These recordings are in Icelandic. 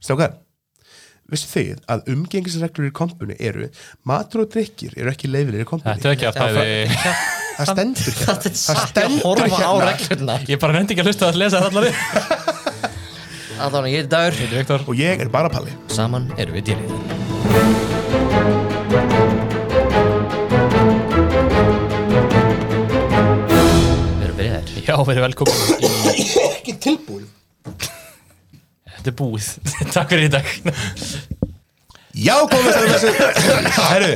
Strákar, vissu þið að umgengisreglur í kompunni eru matur og drikkir eru ekki leifilegir í kompunni Þetta er ekki að pæði Það stendur hérna. Þetta er Það satt að stendur horfa á hérna reglurna Ég bara nefndi ekki að hlusta að lesa það allar upp. að þannig ég er dagur Þetta er Viktor Og ég er bara palli saman erum við dýrið við erum byrjaðir Já, verið velkomin í- Ekki tilbúin Þetta er búið Takk fyrir í dag Já, komið þessari þessu Herru,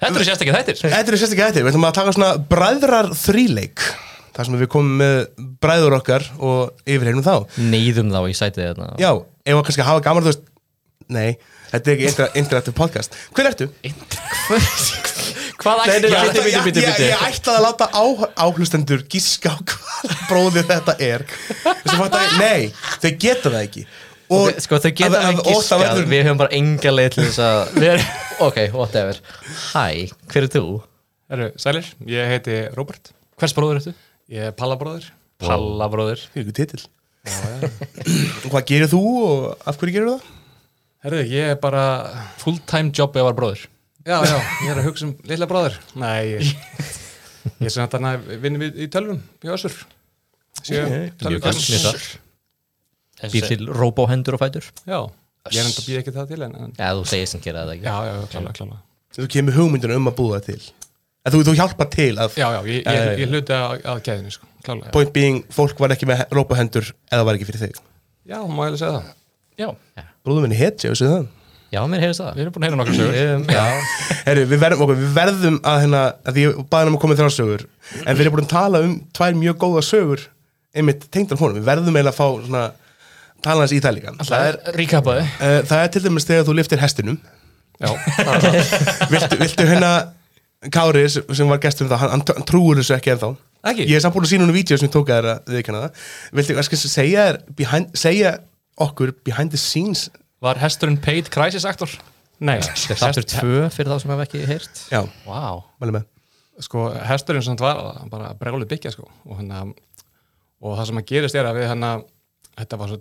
Þetta eru sérstakir þættir þetta er sérstaklega þetta Við ætlum að taka svona bræðrar þríleik þar sem við komum með bræður okkar og yfirhegnum þá neyðum þá í sætið hérna. þarna Já, ef að kannski að hafa gaman þú veist Nei, þetta er ekki inter interaktiv podcast Hver ertu? Hvað ætti ég, Bíti, bíti, bíti, ég, bíti ég ætlaði að láta á, áhlustendur gíska á hvað bróðir þetta er Þessu fatt að, nei, þau geta það ekki og, sko þau geta af- af- að og það giskað, verður- við höfum bara enga leið til þess að Við erum- ok, whatever hæ, hver er þú? Herru, sælir, ég heiti Robert, Hvers bróður ertu? ég er pallabróður. Palla bróður Fyrir ykkur titill Og Hvað gerir þú og af hverju gerir það? Herru, ég er bara, Fulltime job ef var bróður já, já, ég er að hugsa um litla bróður. Nei, ég, ég er sem þetta hann að vinna við í tölvum, í Össur. Sér, um Mjög gæmst býr til robohendur og fætur Já, ég er enda að býja ekki það til en, en eða þú segir sem gera það ekki já, já, klálega, klálega. Þú kemur hugmyndina um að búa það til En þú, þú hjálpa til að Já, já, ég, ég, ég, ég hluti að, að gæðinu, sko, klálega. Point being, fólk var ekki með rópahendur eða var ekki fyrir þig Já, má ég alveg segja það. Já, Bróðum minni hetja, þessu það já, mér heyrðist það við erum búin að heyra nokkra sögur Um, já, Herru, við verðum, okkur, við verðum að hérna, að því ég baði hann um að koma með þrjá sögur en við erum búin að tala um tvær mjög góða sögur einmitt tengdar honum, við verðum eiginlega að fá svona, tala hans í það líka Það er ríkapaði Eh, Það er til dæmis þegar þú liftir hestinum Já, Viltu, viltu hérna Kári sem sem var gestur um það, hann, hann trúur þessu ekki ennþá Ekki? Ég er samt búin að sína hún um vídeo sem ég tók að þeirra viðkynna það Viltu, hvað skal segja, þér behind, segja okkur behind the scenes Var hesturinn paid crisis actor? nei, þetta er þáttur tvö fyrir þá sem hef ekki heyrt Já, Vá mæli með sko, hesturinn sem það var, hann bara brjálu byggja, sko, og hann að, og það sem að gerist er að við hann að, þetta var svo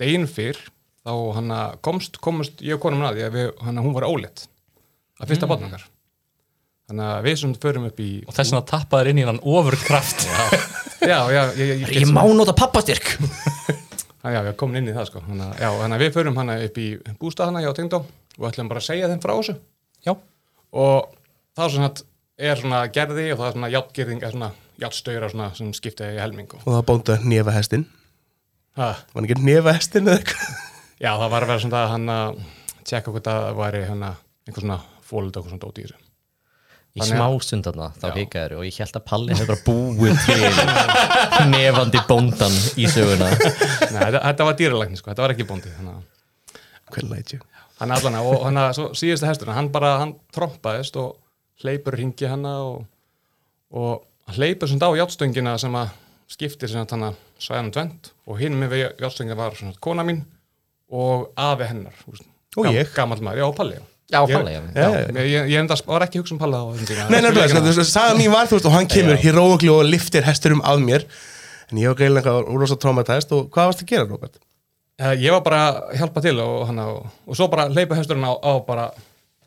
degin fyrr, þá hann að komst, komust ég og konum að því að við, hann að hún var ólétt, að fyrsta mm. bátnakar. Þannig að við sem förum upp í... Og þess vegna tappaður inn í hann ofurkraft Já, já, ég, ég, ég, ég má nota pappastyrk já, já, komin inn í það, sko. Þannig að, já, þannig að við förum hann að upp í bústað hann að ég á tengdó og ætlum bara að segja þeim frá þessu. Já og þá sem sagt er svona gerði og það er svona játgerðing er svona játstöyra svona sem skipta í helmingu Og það bóndi að nefa hestin ha, Var hann ekki að nefa hestin eða eitthvað? já það var að vera svona að hann að tjekka hvort að það væri hann að einhver svona fólut og svona dóti í þessu í Þannig að- smásund þarna, þá Já. hikaður og ég held að Palli hefur bara búið til nefandi bóndan í söguna Nei, þetta, þetta var dýralækni sko, þetta var ekki bóndi þannig að Hvernig læt ég? hann allan að- og hann að svo síðasta hesturinn, hann bara hann trompaðist og hleypur ringi hanna og, og hann hleypur svona á játstöngina sem að skiptir sem að hann að sæðan tvent og hinn með við játstöngina var svona kona mín og afi hennar úst, Og ég. gamall maður, já Palli já, Já, Palli, já. já, já, ég, ég, ég enda, var ekki að hugsa um Palli á þessum tíma Nei, nefnilega, sko, þú veist, saga mín var, þú veist, og hann kemur heroikli og liftir hesturum að mér en ég var greiðlega rosa traumatæst og hvað varst að gera, Robert? Eh, ég var bara að hjálpa til og, hana, og, og svo bara hleypa hesturinn á, á bara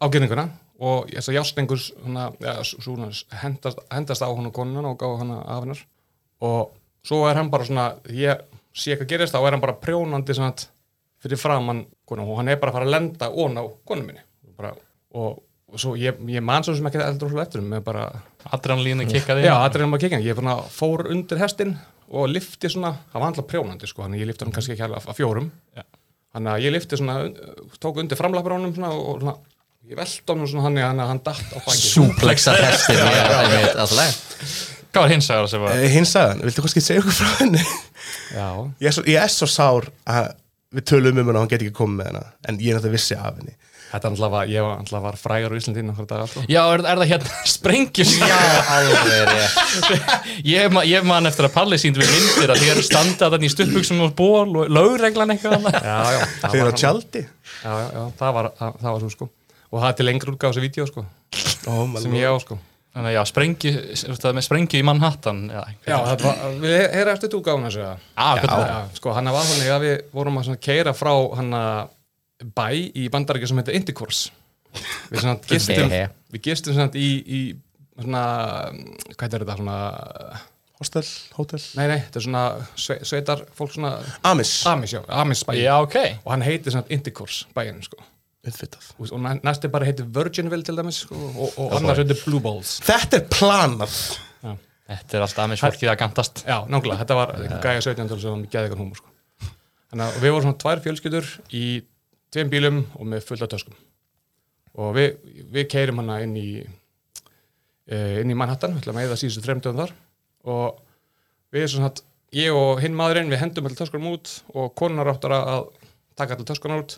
ágjörninguna og þess að jástengur hana, ja, svona, hendast, hendast á hann og konuna og gá hann af hennar og svo er hann bara svona ég sé hvað gerist þá er hann bara prjónandi svona, fyrir framann konum og hann er bara að fara að lenda ón á konum minni bara, og, og svo ég, ég man svo sem ekki eldur og eftir með bara Adrenalínu kikkaði Já, adrenalin var kikkin. Ég svona, fór undir hestin og lifti svona, það var alltaf prjónandi sko, þannig að ég lifti hann kannski ekki alveg að fjórum. Þannig að ég lifti svona, uh, tók undir framlappur á honum svona og svona, ég veldi honum svona þannig að hann datt á baki. súplexa hestin já, einmitt, alltaf leið. Hvað var hins aðra sem var? Eh, Hins sagan, viltu kannski segja okkur frá henni? Já. Ég er svo, ég er svo sár að við tölum um henni og hann geti ekki komið með henni en ég er náttúrulega vissi af henni Þetta alltaf var, ég var alltaf var frægar á Íslandi nokkra dagar sko. Já, er, er það hérna sprengjus? já, alveg rétt Ég, ma- ég man eftir að Palli síndi við myndir að þér standa þannig í stuttbuxum og ból og lögreglan eitthvað annað. Já, já. Þeir það var eru á hann- tjaldi Já, já, já, það var, það, það var svo sko. Og það er til lengur útgáð þessu vídeo sko, Ó, maður. sem ég á sko. Þannig að já, sprengi, þetta með sprengi í Manhattan já, Já, þetta var, við heyra eftir þú gána þessu að já, já. Já, sko, hann var þannig að við vorum að keira frá hann bæ í bandaríkja sem heitir Intercourse við svona gistum Behe. við gistum svona í, í svona, hvað er þetta svona Hostel, hótel nei, nei, þetta er svona sve, sveitar fólk svona Amis, Amis, já, Amis bæ já, ok og hann heitir svona Intercourse bæinn, sko auðvitað og, og næ- næsti bara heitir Virginville til dæmis sko, og, og annars heitir Blue Balls Þetta er planað Þetta er alltaf aðeins fólkið að gantast Já, nákvæmlega, þetta var einhver gæja 17. sem var með geðegan húmor sko. Þannig að við vorum svona tvær fjölskyldur í tveim bílum og með fullt af töskum og við, við keirum hana inn í eh, inn í Manhattan, við ætlum að eða síðustu þremdöðum þar og við erum svona að ég og hinn maðurinn, við hendum allir töskunum út og konunar áttur að taka allir töskunum út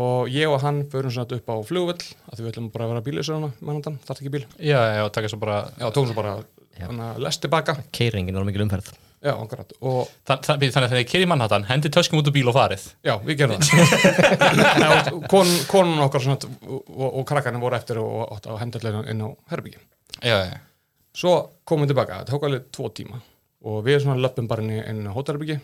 og ég og hann förum svona upp á flugvöll af því við ætlum bara að vera bílis í Manhattan, þarf ekki bíl Já, já, taka svo bara Já, tókum svo bara hana, lest tilbaka Keiringin var mikil umferð Já, akkurat, og Þann- þann- býðu, Þannig að þegar ég keyri í Manhattan, hendi töskum út úr bíl og farið Já, við gerum það Kon, Konun okkar svona, og, og, og krakkarnir voru eftir og, og, og hendurlega inn á herbyggi Já, já, Svo komum við tilbaka, það tók alveg tvo tíma og við svona löpum bara inn í- inn á hótelherbyggi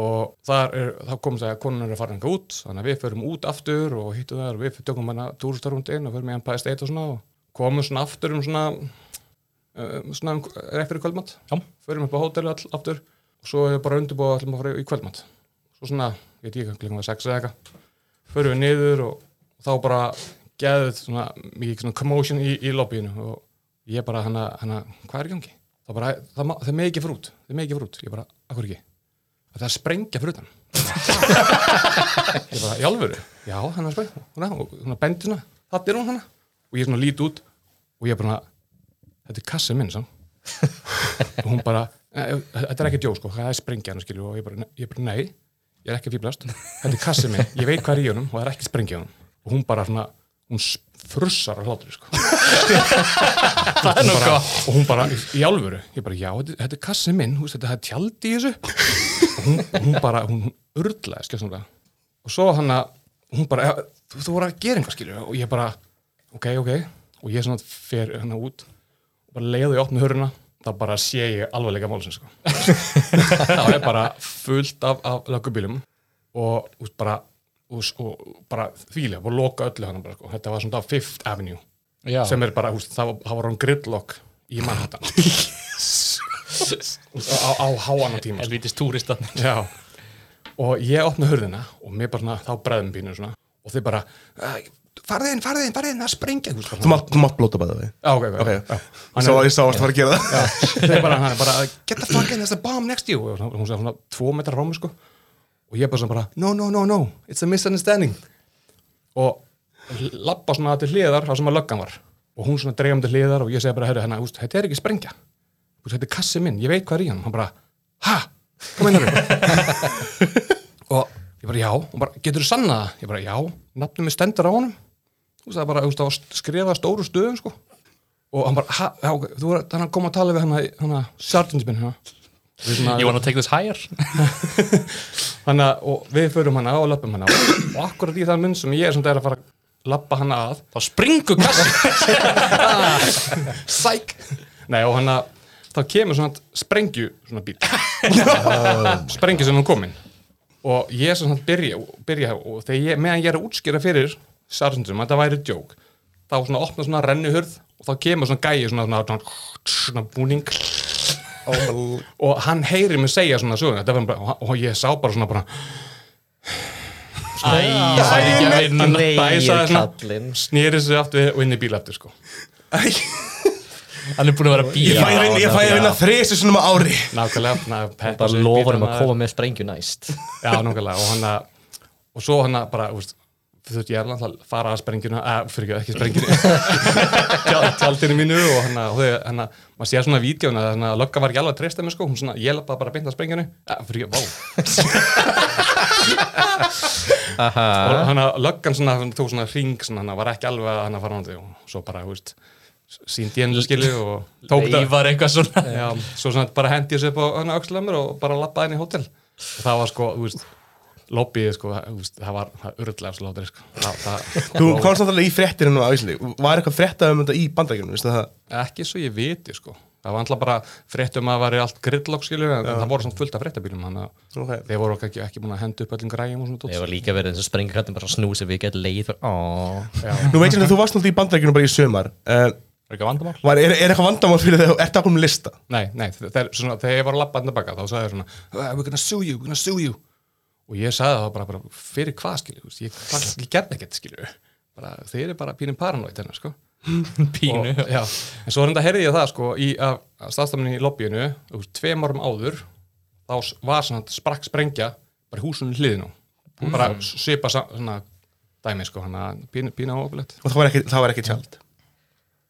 og þar er, þá komum það að konun eru að fara eitthvað út þannig að við förum út aftur og hittum það og við tökum hana túristarund inn og förum í Empire State og svona og komum svona aftur um svona um, svona um, rétt fyrir kvöldmatt Já. förum upp á hótelu all, aftur og svo er bara undirbúið að ætlum að fara í kvöldmatt svo svona, ég veit ekki, klingum við sex eða eitthvað förum við niður og þá bara geðið svona mikið svona commotion í, í lobbyinu og ég bara hana, hana hvað er í gangi? Það bara, það, má- það með ekki fyrir út það með ekki fyrir út, ég bara, akkur ekki að það er að sprengja fyrir utan ég bara, í alvöru já, hann er að sprengja, hún er, hún er bendina það er hún hana, og ég svona lít út og ég bara, þetta er kassið minn sann og hún bara, "Nei, þetta er ekki djó sko, það er sprengja hann skilju og ég bara, ég bara nei, ég er ekki að fýblast þetta er kassið minn, ég veit hvað er í honum og það er ekki sprengja hann og hún bara svona, hún s- frussar á hlátri sko það er bara, og hún bara, í alvöru ég bara, já, þetta, þetta er kassið minn, þú veist, þetta er tjaldi í þessu og hún, og hún bara, hún, hún urlaði skjössamlega og svo hann að, hún bara "Ja, þú, þú voru að gera einhvað skilju og ég bara, ok, ok og ég svona fer hann út og bara leiðu í opnu höruna þá bara sé ég alvarleika málsins sko. þá er bara fullt af, af löggubílum og út bara og, og bara þvílega, og loka öllu hann bara, sko. þetta var svona Fifth Avenue já. sem er bara, húst, það, var- það var hann gridlock í Manhattan á, á háanna tíma sko. Helvítist túrista Já. Og ég opna hurðina og mér bara svona, þá bræðum bínu svona og þeir bara, "Æ, farðu inn, farðu inn, farðu inn, það er sprengja. Þú veist, bara Þú svona- mátt, þú mátt blóta bæða því Já, ok, ok. Ok, okay. Já. ég sá að ég sá að það var að gera það Þeir bara, hann er bara, get the fuck in, there's a bomb next to you. Og hún sagði svona, tvo metra rámi, sko. Og ég bara svona bara, no, no, no, no, it's a misunderstanding. Og lappa svona til hliðar, það sem að löggan var. Og hún svona dreigum til hliðar og ég segi bara, herru, hérna, úst, þetta er ekki sprengja. Úst, þetta er kassi minn, ég veit hvað er í hann. Hann bara, ha, kom inn hérna. og ég bara já, og bara getur þú sanna það? Ég bara já, nafnum er stendur á honum þú veist það er bara, þú veist það var skrifað á stóru stöðum sko, og hann bara ha, já, ok, þú var þannig að koma að tala við hana, hana sergeant minn hana Við svona- You wanna take this higher? Hanna, og við förum hana og lappum hana og akkurat í þann mun sem ég er sem það er að fara að lappa hana að Þá springu kassi sæk Nei, og hann að þá kemur svona sprengju svona bíl sprengju sem hún komin og ég sem svona byrja, byrja og þegar ég, meðan ég er að útskýra fyrir sarnsundum að það væri djók þá svona opna svona rennuhurð og þá kemur svona gæi svona, svona, svona, svona búning og hann heyrir mig segja svona söguna þetta var bara, og ég sá bara svona bara Æja, sækja hann vinnuna dæsaði kallinn. svona snýri sig aftur og inn í bíl aftur sko Hann er búin að vera að Ég bíða fæ að vinna- Ég fæ að vinna þresi svona á ári nákvæmlega ná, peppa sig upp í Bara lofar um þetta, að maður. koma með sprengju næst Já, nákvæmlega og hann að, og svo hann að bara, þú veist, þú veist, ég er alltaf að fara að sprengjuna, að, fyrir ekki, ekki sprengjuna Tjald- tjaldinu mínu og hann að, og þau- hann að, maður sé svona vídjón að hann að lögga var ekki alveg að treysta mér sko, hún svona, ég lappa bara beint að sprengjunu að, fyrir ekki, vá og hann að löggan svona, hann tók svona ring svona, hann að var ekki alveg að hann að fara á hann og svo bara, þú veist, síndi henni skilju og tók þetta Leifar eitthvað svona Já, svo svona bara hendi ég sér upp á hann aukslamur og bara lappaði inn í hótel og það var sko, þú veist lobbyið sko, það, þú veist, það var það urðlega sláttir sko. það, það, Þú komst náttúrulega í fréttir hérna á Íslandi Var eitthvað fréttað um þetta í bandaríkjunum, veistu það? ekki svo ég viti sko. það var alltaf bara fréttum að það væri allt gridlock skilu, en það voru svona fullt af fréttabílum þannig að Ok. þeir voru ekki, ekki búin að henda upp öllum græjum og svona dót Ég var líka verið eins og springa kattin bara snú sem við gett leið og áh Nú veit ég að þú varst náttúrulega í bandaríkjunum bara í sömar uh, er ekki vandamál? var, er, er eitthvað vandamál fyrir þegar þú ert að komum lista? Nei, nei, þe- þeir, svona, þegar ég var að labba hann baka þá sagði þeir svona "Ah, We're gonna sue you, we're gonna sue you Og ég sagði það bara, bara fyrir hvað skilju þú veist, ég, hvað, ég gerði ekkert skilju bara, Þeir eru bara pínum paranoid hennar sko pínu og, já. En svo reynda heyrði ég það sko í, af, af staðstæmni í lobbyinu úr tveim árum áður þá s- var svona sprakk sprengja bara í húsunum hliðinu bara Mm. svipa sa- svona dæmi sko hann að pína, pína áfélegt Og það var ekki, það var ekki tjald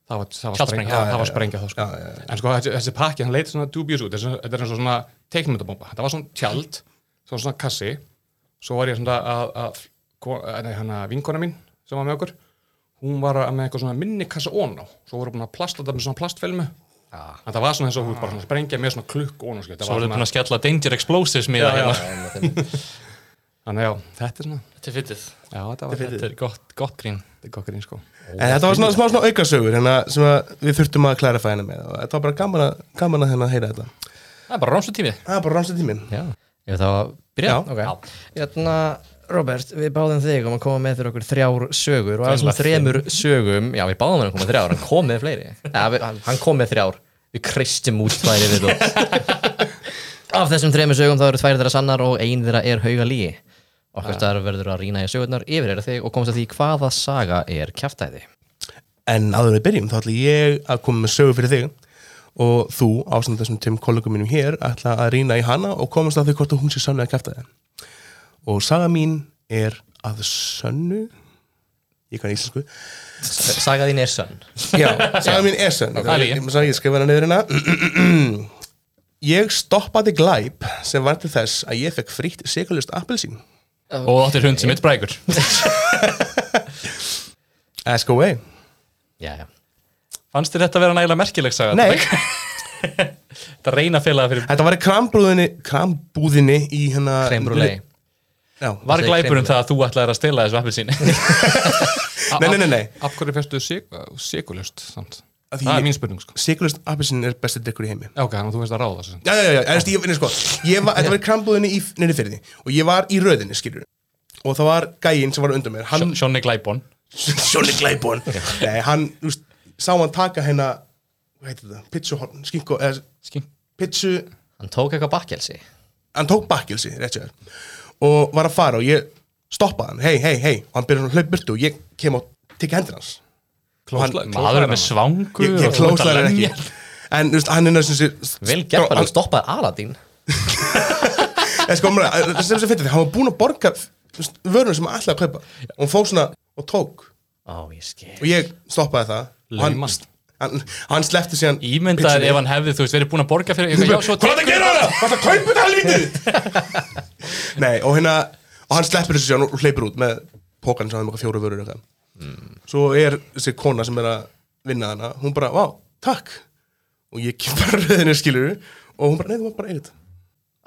það var, það var Tjaldsprengja, sprengja, já, það var já, sprengja þá sko. Já, já, en sko þessi, þessi pakki, hann leit svona dubjus út þessi, þetta er eins og svona teiknumyndabomba þetta var svona tjald, svo var svona kassi svo var ég svona að, að, ko- að nei, hana, vinkona mín sem var með okkur hún var að- með eitthvað svona minni kassa ón á svo voru búin að plasta þetta með svona plastfelmu ah. en það var svona eins og hún bara svona sprengja með svona klukk ón á skil Svo erum við búin að skella Danger Explosives miða hérna Þetta þannig já, þetta er svona Þetta er fyndið já, þetta var Þetta er gott, gott grín þetta er kokkurinn sko En Eh, þetta var svona smá svona aukasögur hérna, sem að við þurftum að klæra fæna með og þetta var bara gaman að, gaman að hérna heyra þetta Það er bara rámstu tími Það er bara rámstu tíminn Já, ég þá að byrja Já, ok Jörna, Hérna, Robert, við báðum þig um að koma með fyrir okkur þrjár sögur og af þessum þremur sögum, já við báðum hann að koma með þrjár, hann kom með fleiri ja, við, hann- Hann kom með þrjár, við kristum út tvær yfir þú Af þessum þremur sögum þá eru tvær þeirra sannar og ein þeirra er hauga líi Okkar starf verður að rýna í sögurnar yfir er þig og komast að því hvaða saga er kjæftæði En áður en við byrjum, þá ætla ég að koma með sögu fyrir þig og þú, ásamt þessum tveim kollegum mínum hér, ætla að rýna í hana og komast að því hvort að hún sé sönnu að kæfta þig. Og saga mín er að sönnu, ég kann íslensku, Saga þín er sönn já, saga mín er sönnu, það er ég, ég, ég skrifa hana niður hérna. ég stoppaði glæp sem var til þess að ég fekk frítt sigalust appelsín. Og áttir hund sem mitt brækur Ask away. Já, já Fannst þér þetta vera nægilega merkileg saga? Nei. Þetta reyna félaga fyrir Þetta var í krambrúðinni, krambúðinni í hérna... Krembrúlei Já. Var Þetta er glæpurum kremlega. það að þú ætlaðir að stela þessu appið síni? Nei, Ah, nei, nei, nei. af hverju fyrstu sigurlust samt Af því það ég- er mín spurning sko Siglust appelsín er bestið drikkur í heimi. já, ok, þannig að þú veist að ráða þessu Já, já, já, já, en ég, nei, sko, ég var, þetta var í krambúðinni í nynni fyrir því og ég var í röðinni, skilur og það var gæinn sem var undan mér hann, Sjónni Glæbón Sjóni Gleibón nei, hann, þú veist, sá hann taka hérna hvað heitir þetta, pitsuhorn, skinko eða Skink pitsu, Hann tók eitthvað bakkelsi hann tók bakkilsi, rétt sér og var að fara og ég stoppaði hann, hei, hei, hei og hann byrjaði að hlaupa burtu og ég kem og tekja hendur hans Klósla- Maður klóslæðir er með hana. ég, svangur og þú ég ert klósaði að hann lemja. ekki en, þú veist, hann er næstum Vel gert bara, Sko, hann stoppaði Aladin En sko, maður, það sem sem fyrir því, hann var búinn að borga þú veist, vörunum sem hann ætlaði að kaupa og hún fóð svona og tók Ó, ég skil og ég stoppaði það og hann, Lauman. hann, hann sleppti síðan Ímyndaðir ef hann hefði, þú veist, verið búin að borga fyrir eitthvað, já, svo Hvað er það að gera það? Hvað er það að kaupa þetta helvítið? Nei, og hérna og hann sleppir þessu síðan og hleypir út með pókan sem hafði með eitthvað fjóru vörur eitthvað. Mm. Svo er þessi kona sem er að vinna hana, hún bara, vá, takk og ég kem bara röðinni skilur og hún bara, nei, þú var bara eitt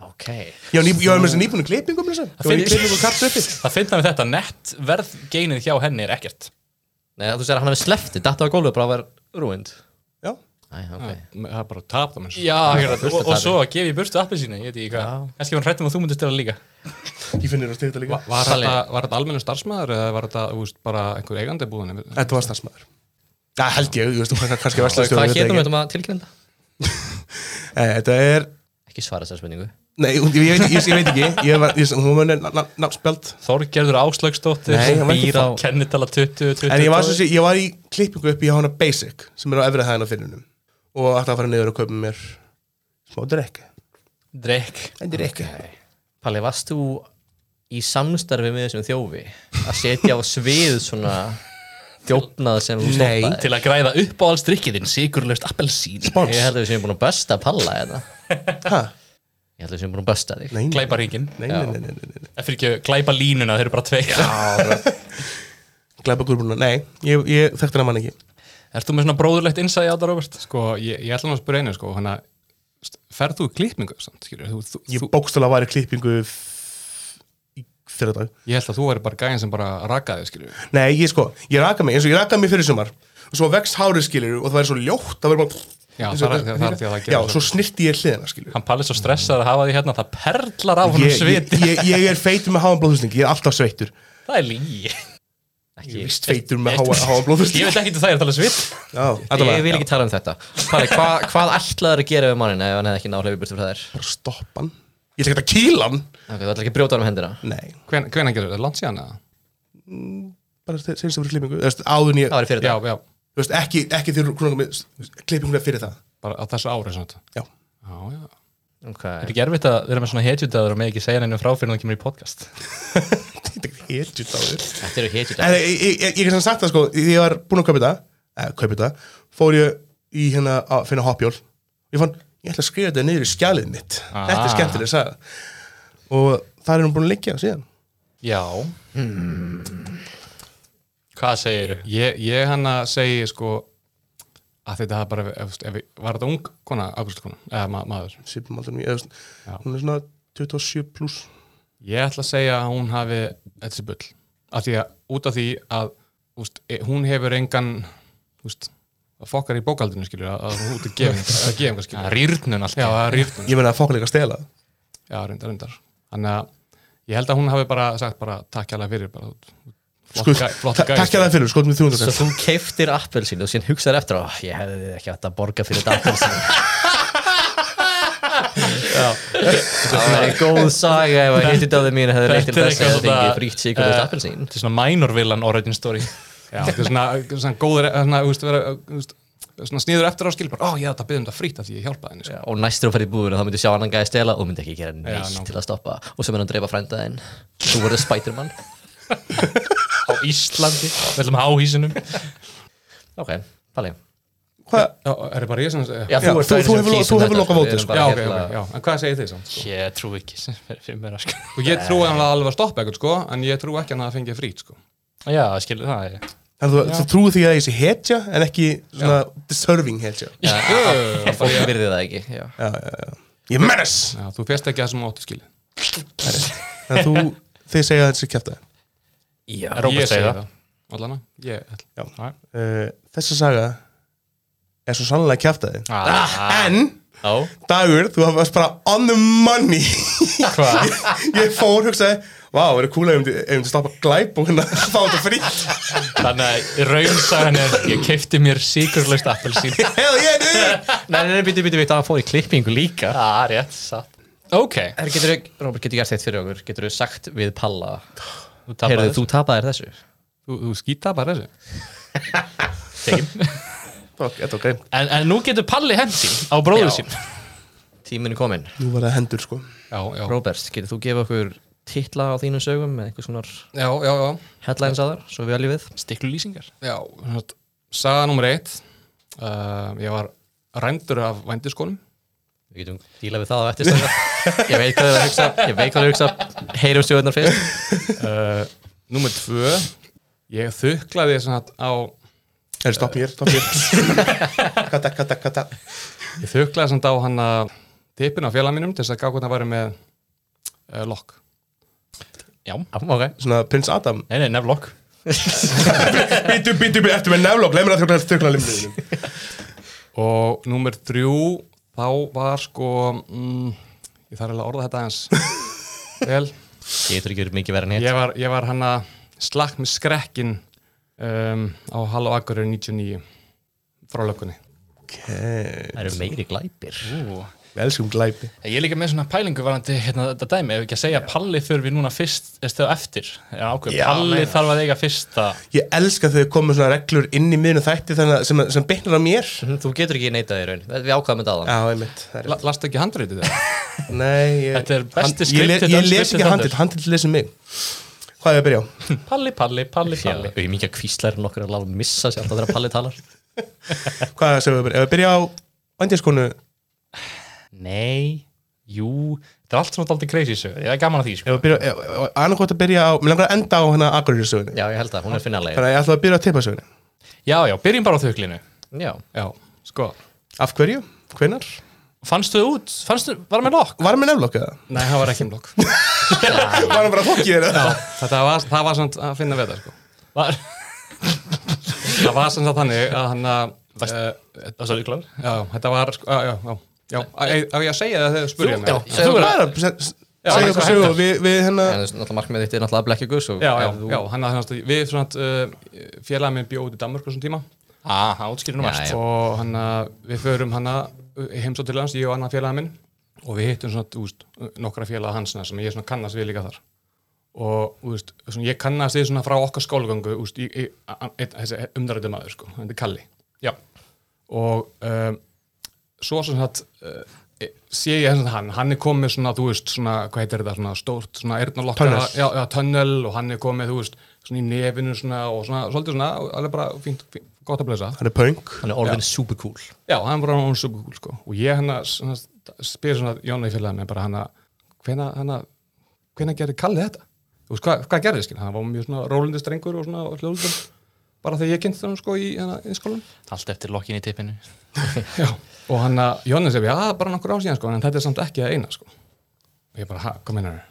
Ok Já, ný- ég var með þessi nýbúinu klippingum þessu. Ég var í finnst- klippingu kartöffi Það finna við þetta, nett verðgeinin hjá henni er ekkert Nei, þú sér að hann hefði sleftið, datta á gólfið bara að vera ruined Já, Æ, ok það er bara tapt á mér Já, hérna, fullt af og, og tapi. svo að gefa í burtu appið síni, ég veit ekki hvað Kannski var hann hrættum að þú myndir stela líka ég finnir að styrta líka Var Palli. þetta, var þetta almennu starfsmæður eða var þetta þú veist, bara einhver eigandi búðinni? Þetta var starfsmæður Það held ég, þú veist, hún kann- kannski verslastjóri Hvað hétum við þetta að tilkynna? um Eh, Þetta er, Ekki svara þessar spurningu nei, hún- ég veit, ég, ég veit ekki Ég var, ég, hún var náttspjald Þorgerður Áslaugsdóttir, Nei, hann var ekki býr á það. kennitala 20, 20 En ég var, sem sé, ég var í klippingu upp í hana Basic sem er á efrið hæðina fyrirnum og ætla að fara niður og kaupa mér smá drekki Drek En drekki Palli, varst þú í samstarfi með þessum þjófi að setja á svið svona þjófnað sem þú Nei. stoppaði? Til að græða upp á alls drikkiðin, sigurlaust appelsín Spons. Ég held að við séum búin að besta Palla þetta Hæ? Ég held að við séum búin að besta þig Nei, nei, Glæpa ríkin nei, nei, nei, nei, nei, nei. Það fyrir ekki glæpa línuna, þeir eru bara tveir Glæpa grúbruna, nei, ég, ég þekkti hana mann ekki Ert þú með svona bróðurlegt innsæði á það, Robert? Sko, ég, ég ætla nú að spyrja einu, sko, hann að ferð þú í klippingu samt, skilur? Þú, þú, Ég þú, bókstala var í klippingu f- í fyrir dag Ég held að þú væri bara gæðin sem bara rakaði, skilju Nei, ég sko, ég raka mig, eins og ég raka mig fyrir sumar og svo vext hárið skilur og það væri svo ljótt það væri bara Já, eins og- það er- það er því að það gerir Já, það. svo snirti ég hliðina skilur Hann palið svo stressað að hafa því hérna Það perlar á honum ég, sviti ég, ég, ég er feitur með háan blóðhusting ég er alltaf sveittur Það er lígi ég er vist feitur með háa- háan blóðhusting Ég veit ekki til það er að tala svit Já, Ég vil allavega, ekki tala um þetta Palli, hva, Hvað ætlaður að gera við mannin ef hann hefði ekki nálega burtu frá þær? bara stoppa hann Ég ætla ekki að kýla hann Okay, þú ætlar ekki að brjóta hann um hendina Nei, Hven, Hvenær gerður þetta? Langt síðan eða? bara þeir sem fyrir klippingu Þú veist, áður en ég, Það var í fyrir Já, dag já, þú veist, ekki, ekki þegar kronungum klippinguna fyrir það bara á þessu ári svona Já, Já, já Það er okay. ekki erfitt að vera með svona hetjutaður og með ekki segja henni frá fyrir hún kemur í podcast þetta er helt jútt á þér Þetta eru hitjur En ég, ég, ég, ég er sem sagt það sko, því ég var búinn að kaupa þetta, eh, kaupa þetta, fór ég í hérna að finna hoppjól. Ég fann, ég ætla að skrifa þetta niður í skjalið mitt. Ah. Þetta er skemmtileg, sagði. Og það er hún búin að liggja síðan. Já Hvað segir þú? Ég, ég hann að segja, sko að þetta hafa bara, ef, ef, ef, var þetta ung kona, afgristu kona, eða ma maður Sýpum aldrei mjög, hún er svona 27 pluss. Ég ætla að segja að hún hafi þetta sé bull. Af því að út af því að úst, hún hefur engan úst, að fokkar í bókaldinu skilur að að hún út að gefa að gefa einhver skilur. Rýrnun alltaf Já, að rýrnum. Ég meina að fólk líka að stela. Já, reyndar, reyndar. Þannig að ég held að hún hafi bara sagt bara takk hérlega fyrir bara út. Skuld, Sko, ta- takk ég það fyrir, sko, skoðum við 300 Svo kall. þú keiftir appelsín og síðan hugsaður eftir á Ég hefði ekki átt að borga fyrir þetta appelsín Það væri góð saga ef að hitjur dáði mín hefði leitt til Þetta er þess að það eitthvað fengi svona- frítt sigur og Eh, appelsín Þetta er svona minorvillan origin story Já, þetta er svona, svona góður, svona, úst, vera, úst, svona sniður eftir á skilur bara, ó, ég ætla að byggja um þetta frýtt af því ég hjálpaði henni. Sko. og næstur þú ferð í búðuna þá myndir sjá annan gæði stela og myndir ekki gera neitt nákvæmlega. til að stoppa og svo myndir hann dreifa frændaðinn þú verður Spiderman á Íslandi Við ætlum að háhísinum ok, Palli Hvað? Já, er það bara ég sem... já, Já, þú, þú- ert þú þær sem hefur- kýs þú um hefur þetta, lokað sko, mótið, við erum sko. bara Já, ok, hérna- ok, já. En hvað segir þið samt? sko? Ég trú ekki sem fyrir fyrir mér sko. Og ég trúi hann að alveg að stoppa eitthvað, sko, en ég trúi ekki hann að það fengi frýtt, sko. Já, skilur það ég. Þannig að þú- þú trúið því að ég sé hetja en ekki svona deserving hetja. Já, já, fólk virði það ekki já. Já, já, já. Ég mennes! Já, þú fest ekki það sem þú átti skilið. En þú, þið segja að þessi kjæftæði. Já. Róbert Ég segi segir það. Allana, ég ætla. Já. Uh, þessa saga er svo sannlega kjæftæði Ah, en Já. dagur, þú hafði bara on the money Hvað? ég fór hugsaði vá, verður kúla ef þú myndi stoppa glæp og hérna fá þetta frýtt Þannig að raunsagan er Ég keipti mér sigurlaust appelsín hell yeah dude nei, nei, nei, býti, býti, býti, það fór í klippingu líka Það er rétt, satt Ok, Her, getur, Robert, getur gert eitt fyrir okkur getur þú sagt við Palla þú heyrðu, tapaði þú tapaðir þessu Þú, þú skýta bara þessu? Fuck, þetta var greim en, en nú getur Palli hemsín á bróður Já. sín tíminn er komin nú var það hendur sko Já, já. Robert, getur þú gefa okkur titla á þínum sögum með einhvers konar Já, já, já. headlines að þar, svo við alveg við Stiklu lýsingar já sem sagt, saga nummer eitt. Uh, ég var rændur af vændiskónum. Við getum díla við það á eftir stundar. Ég veit hvað þau eru að hugsa, ég veit hvað þau eru að hugsa, heyrum stjóðunar fyrst. Uh, nummer tvö. Ég þuklaði sem sagt á, Heyrðu, stopp hér, stopp hér kata, kata, kata ég þuklaði sem sagt á hann að tippin á félag mínum til þess að gá hvernig að væri með uh, lokk. Já, Já, ok. svona prins Adam nei, nei, nefnlokk bítu, bítu, bítu, eftir með neflokk leið mér að þjókla þjókla limnum Og nummer þrjú, þá var sko, mm, ég þarf eiginlega að orða þetta aðeins. Vel. Ég getur ekki verið mikið verið en hér. Ég var, ég var hann að slakk með skrekkin um, á Halló Akureyri 99 frá löggunni. ok, Það eru meiri glæpir. Ú. við elskum glæpi Ég er líka með svona pælingu varandi hérna, þetta dæmi, ef ekki að segja að Palli þurfi núna fyrst eða eftir, eða ákveð Já, Palli meinar. þarf að eiga fyrsta ég elska þegar komið svona reglur inn í miðinu þætti þannig að- sem, sem bitnar á mér Mhm, Þú getur ekki neitað í raun. Við ákvæðum þetta aðan. já, einmitt, það er La, Last ekki handritið það? Nei, ég, Þetta er besti Hann- ég, skriptið le- ég hans les fyrsti ekki þáttur. handil, handil lesum mig Hvað er ég að byrja á? Palli, Palli, Palli, Já, Palli auðvitað kvíslar en okkur að láta missa sér alltaf þegar Palli talar. Hvað er að byrja á? Ef ég byrja á vandiskonu Ef Nei, jú Þetta er allt svona daldið crazy sögur, ég er gaman að því sko. ég byrja á, annarkvæmt að byrja á Mér langar að enda á hérna Akureyri-sögunni Já, ég held að hún er finnalega. Þannig að ég ætla að byrja á tippasögunni Já, já, byrjum bara á þauklinu Já. Já, sko. Af hverju? Hvenar? Fannstu þau út? Fannstu, var hann með lokk? Var hann með nefnlokk eða? Nei, það var ekki um blokk Var hann bara fokkið þér eða? Þetta var, það var samt að finna við þetta sko Var, Það var sem sagt þannig að hann að eh, það var klár. Já, þetta var sko, já, já, já, já Á ég á ég að segja það þegar þú spurðið mig? já, segðu Þú bara. bara Segðu eitthvað bara sögu og við- hérna- við En hennar þú veist, náttúrulega markmið þitt er náttúrulega að blekja gus og Já, já, ef þú- já, hann að þannig að við svona uh, félagið minn bjóð út í Danmörku þessum tíma Ah, það útskýrir nú mest. Já. og hann að við förum hann að heimsó til hans, ég og annað félagið minn og við hittum svona, þú veist, nokkra félagið hans sem ég svona kannast við líka þar og, þú veist, svona, ég kannast við svona frá okkar skólagöngu, þú veist, í, í, a- a- einn- þessi umdrættu maður, sko, hann er Kalli Já. og um, svo sem sagt uh, e- sé ég þess að hann, hann er komið svona, þú veist, svona, hvað heitir þetta, svona stórt, svona eyrnalokka, Tunnel. já, já, tunnel og hann er komið, þú veist, svona í nefinu svona og svona, svolítið svona, alveg bara fínt, fínt gott að blessa. Hann er punk Hann er orðin super cool Já, hann var hann superkúl, sko, og ég hann að svona, spyr svona Jónu í félagið mig bara hann að, hvena, hann að, hvena gerði Kalli þetta? Þú veist, hvað, hvað gerði, skil, hann var mjög svona rólindi strengur og svona hljóðlundur, bara þegar ég kynnt hann, sko, í, hana, í skólan. Allt eftir lokkin í tippinu. Já, og hann að Jónni segir, já, það er bara nokkur ár síðan sko, en þetta er samt ekki að eina sko. Og ég bara, ha, hvað meinar þau?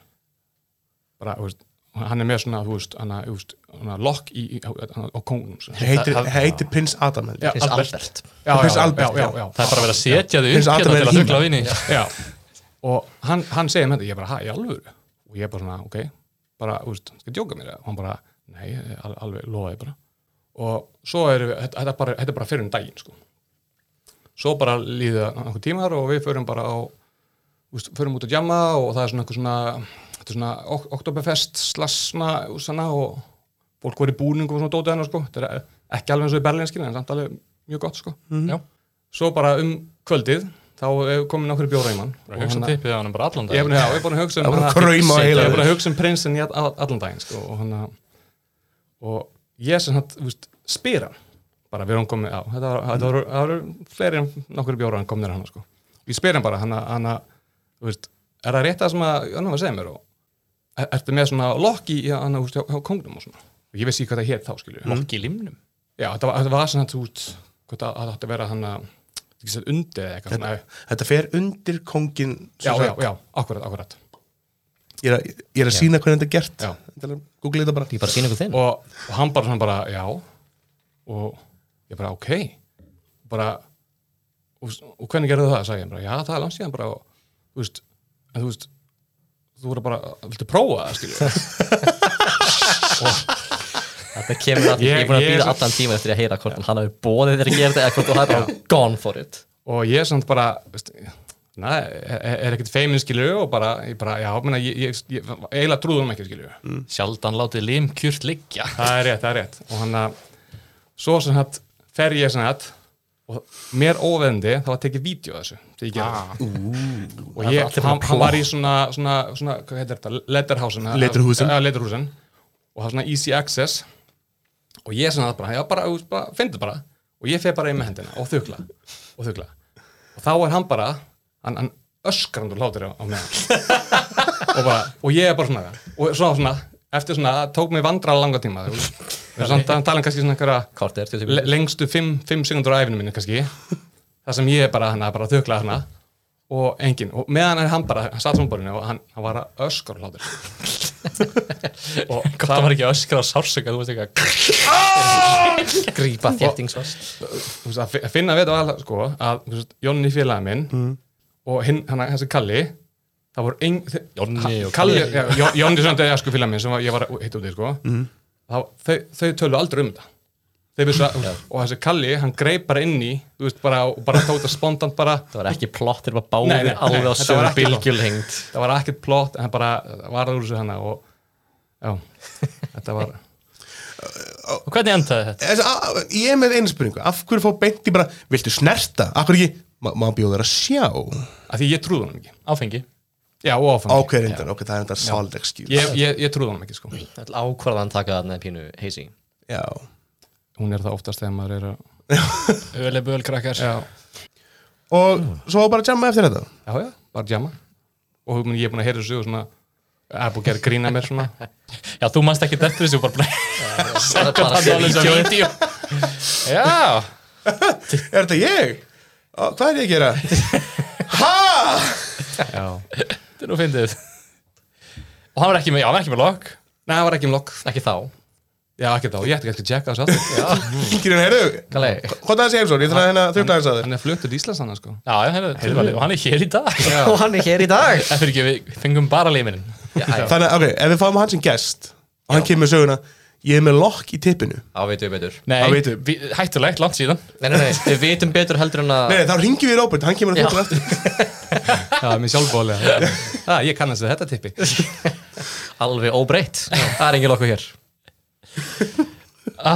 Bara, þú veist, hann er með svona, þú veist, hann að, þú veist, hann að lokk í, í hann, á kónum. Svo. Hann heitir- hann heitir Prins Adam held ég. Prins Albert Já, Prins Albert, já, já. já, já, Það er bara verið að setja þau Finnst upp Adam vera hérna til að híma? þugla á vinni. já. Og hann, hann segir með þetta, ég bara, ha, í alvöru? Og ég bara svona, ok, bara, þú veist, skal ég djóka mér? eða?" Og hann bara, nei, al- alveg, lofaði bara. Og svo erum við, þetta, þetta, er bara, þetta er bara fyrir um daginn, sko. Svo bara líða nokkuð tímar og við förum bara á, þú veist, förum út að jamma og það er svona eitthvað svona, þetta er svona ok Oktoberfest slassna og svona og fólk voru í búningum og svona dótið hennar, sko. Þetta er ekki alveg eins og í Berlinskina, en samt alveg mjög gott, sko Já. svo bara um kvöldið þá er komin okkur bjóra í mann Bara hugsa um tippið á hann bara allan hérna- ég hef dag. búin að, ég hef búin að hugsa um Það var hana- krauma á Ég heila hef búin að þér. hugsa um prinsinn í all- all- allan daginn sko, og hann að og ég sem hann, þú veist, spyr hann bara við erum komið á, þetta var- þetta voru það voru fleiri en nokkur bjóra hann komnir hann sko. ég spyr hann bara, hann að- hann að þú veist, er það rétt það sem að hann var að segja mér og er, ertu með svona lokk í hann að, þú veist, hjá, hjá kongnum og svona og ég veist ekki hvað það hétt þá, skilju Lokk í limnum. já, þetta var, þetta var sem hann út hvað það það átti að vera hann að ekki sér undi eða eitthvað svona Þetta fer undir kongin já, já, já, akkurat, akkurat Ég er að, ég er að sína hvernig þetta er gert Já. Þetta er- Google þetta bara Ég bara sína ykkur þinn og, og hann bara svona bara, já og ég bara, ok bara og, og hvernig gerðu það, sagði ég bara, já, það er langt síðan bara, og, þú veist, en þú veist þú voru bara, viltu prófa það, skilju Þetta kemur að ég Ég- er búin að ég er býða svo- allan tíma eftir að heyra hvort hann hafi bóðið þér að gera þetta eða hvort þú hafi bara gone for it og ég samt bara, veist Na, er, er ekkert feimin skilju og bara, ég bara, já, menna, ég, ég, ég, ég eiginlega trúðum ekki skilju Sjaldan látið limkjurt liggja. það er rétt, það er rétt og hann að svo sem hætt fer ég sem hætt og mér óveðandi það var tekið vídeo þessu þegar ég gerði það. og Það er ég, allir bara hann, hann plott. var í svona, svona, svona hvað heitir þetta, letterhúsin Letterhúsin. ja, letterhúsin og það var svona easy access og ég sem hætt bara, já bara, þú veist, bara finndu bara og ég fer bara inn með hendina og þukla og þukla og þá er hann bara hann, hann öskrandur hlátur á, á meðan og, bara, og ég er bara svona og svona, svona eftir svona, það tók mig vandra langa tíma þú veist. Við erum samt að tala um kannski svona einhverja Hvort er le þetta? lengstu 5 sekundur á æfinu minni kannski það sem ég er bara hana, bara þökla hana og enginn, og meðan er hann bara hann satt svonborinu og hann, hann var að öskur hlátur og Gott að var ekki að öskra á sársöka, þú veist eitthvað. Grípa þéttingsvast þú veist, að fi- að finna við þetta var sko, að þú veist, Jonni félagi minn og hinn, hann, þessi Kalli það voru ein, þe- Jonni Ka- og Kalli, Kalli. já, Jo- Jonni sem þetta er sko félagi minn sem var- ég var að hitta úti sko. þá, þau, þau tölu aldrei um þetta þau vissu að, og þessi Kalli, hann greip bara inn í þú veist, bara, og bara tóta spontant bara Það var ekki plott, þetta var Nei, nei, báðir nei, þetta alveg á var sömu ekki plott. bylgjulhengd það var ekkert plott, en hann bara varður úr þessu hana og já, þetta var Og hvernig endaði þetta? Þess, a, a- Ég er með einu spurningu Af hverju fá beinti bara Viltu snerta? Af hverju ekki Má, má bjóða þér að sjá að því ég trúði honum ekki Áfengi. já, og áfram Ákveð reyndar Ok, það er þetta solid excuse ég, ég, ég trúði honum ekki sko Þetta ákvarðan taka þarna pínu heisi Já hún er það oftast þegar maður er að Öle böl krakkar. já, Og svo var bara að jamma eftir þetta já, já, bara djama og ég er búin að heyra þessu og svona er búin að gera grína mér svona Já, þú manst ekki þetta þessu, bara Það er bara sér blæði þessu vídeo. Já. Er þetta ég? Á, Hvað er ég að gera? Já. Þetta er nú fyndið Og hann var ekki með, já, hann var ekki með lokk Nei, það var ekki um lokk Ekki þá. Já, ekki þá, ég ætti ekki að checka þessu aftur Kýrin, heyrðu, Kallei. hvað það sé heimsókn, ég þarf að hérna þurfta aðeins að þér Hann er fluttur í Íslands annars sko Já, já, heyrðu, tilvalið Og hann er hér í dag Og hann er hér í dag. Það fyrir ekki, við fengum bara liminn Já, já. Þannig, að, ok, ef við fáum hann sem gest og hann kemur með söguna, ég er með lokk í tippinu Þá veitum við betur. Nei, Það veitum vi, hættulegt, langt síðan Nei, nei, nei, við veitum betur heldur en að... Nei, þá ringjum við Robert, hann kemur að þurfta eftir Já, mér sjálfbóðlega Já, ég kannast við þetta tippi Alveg óbreytt. Það er engin okkur hér.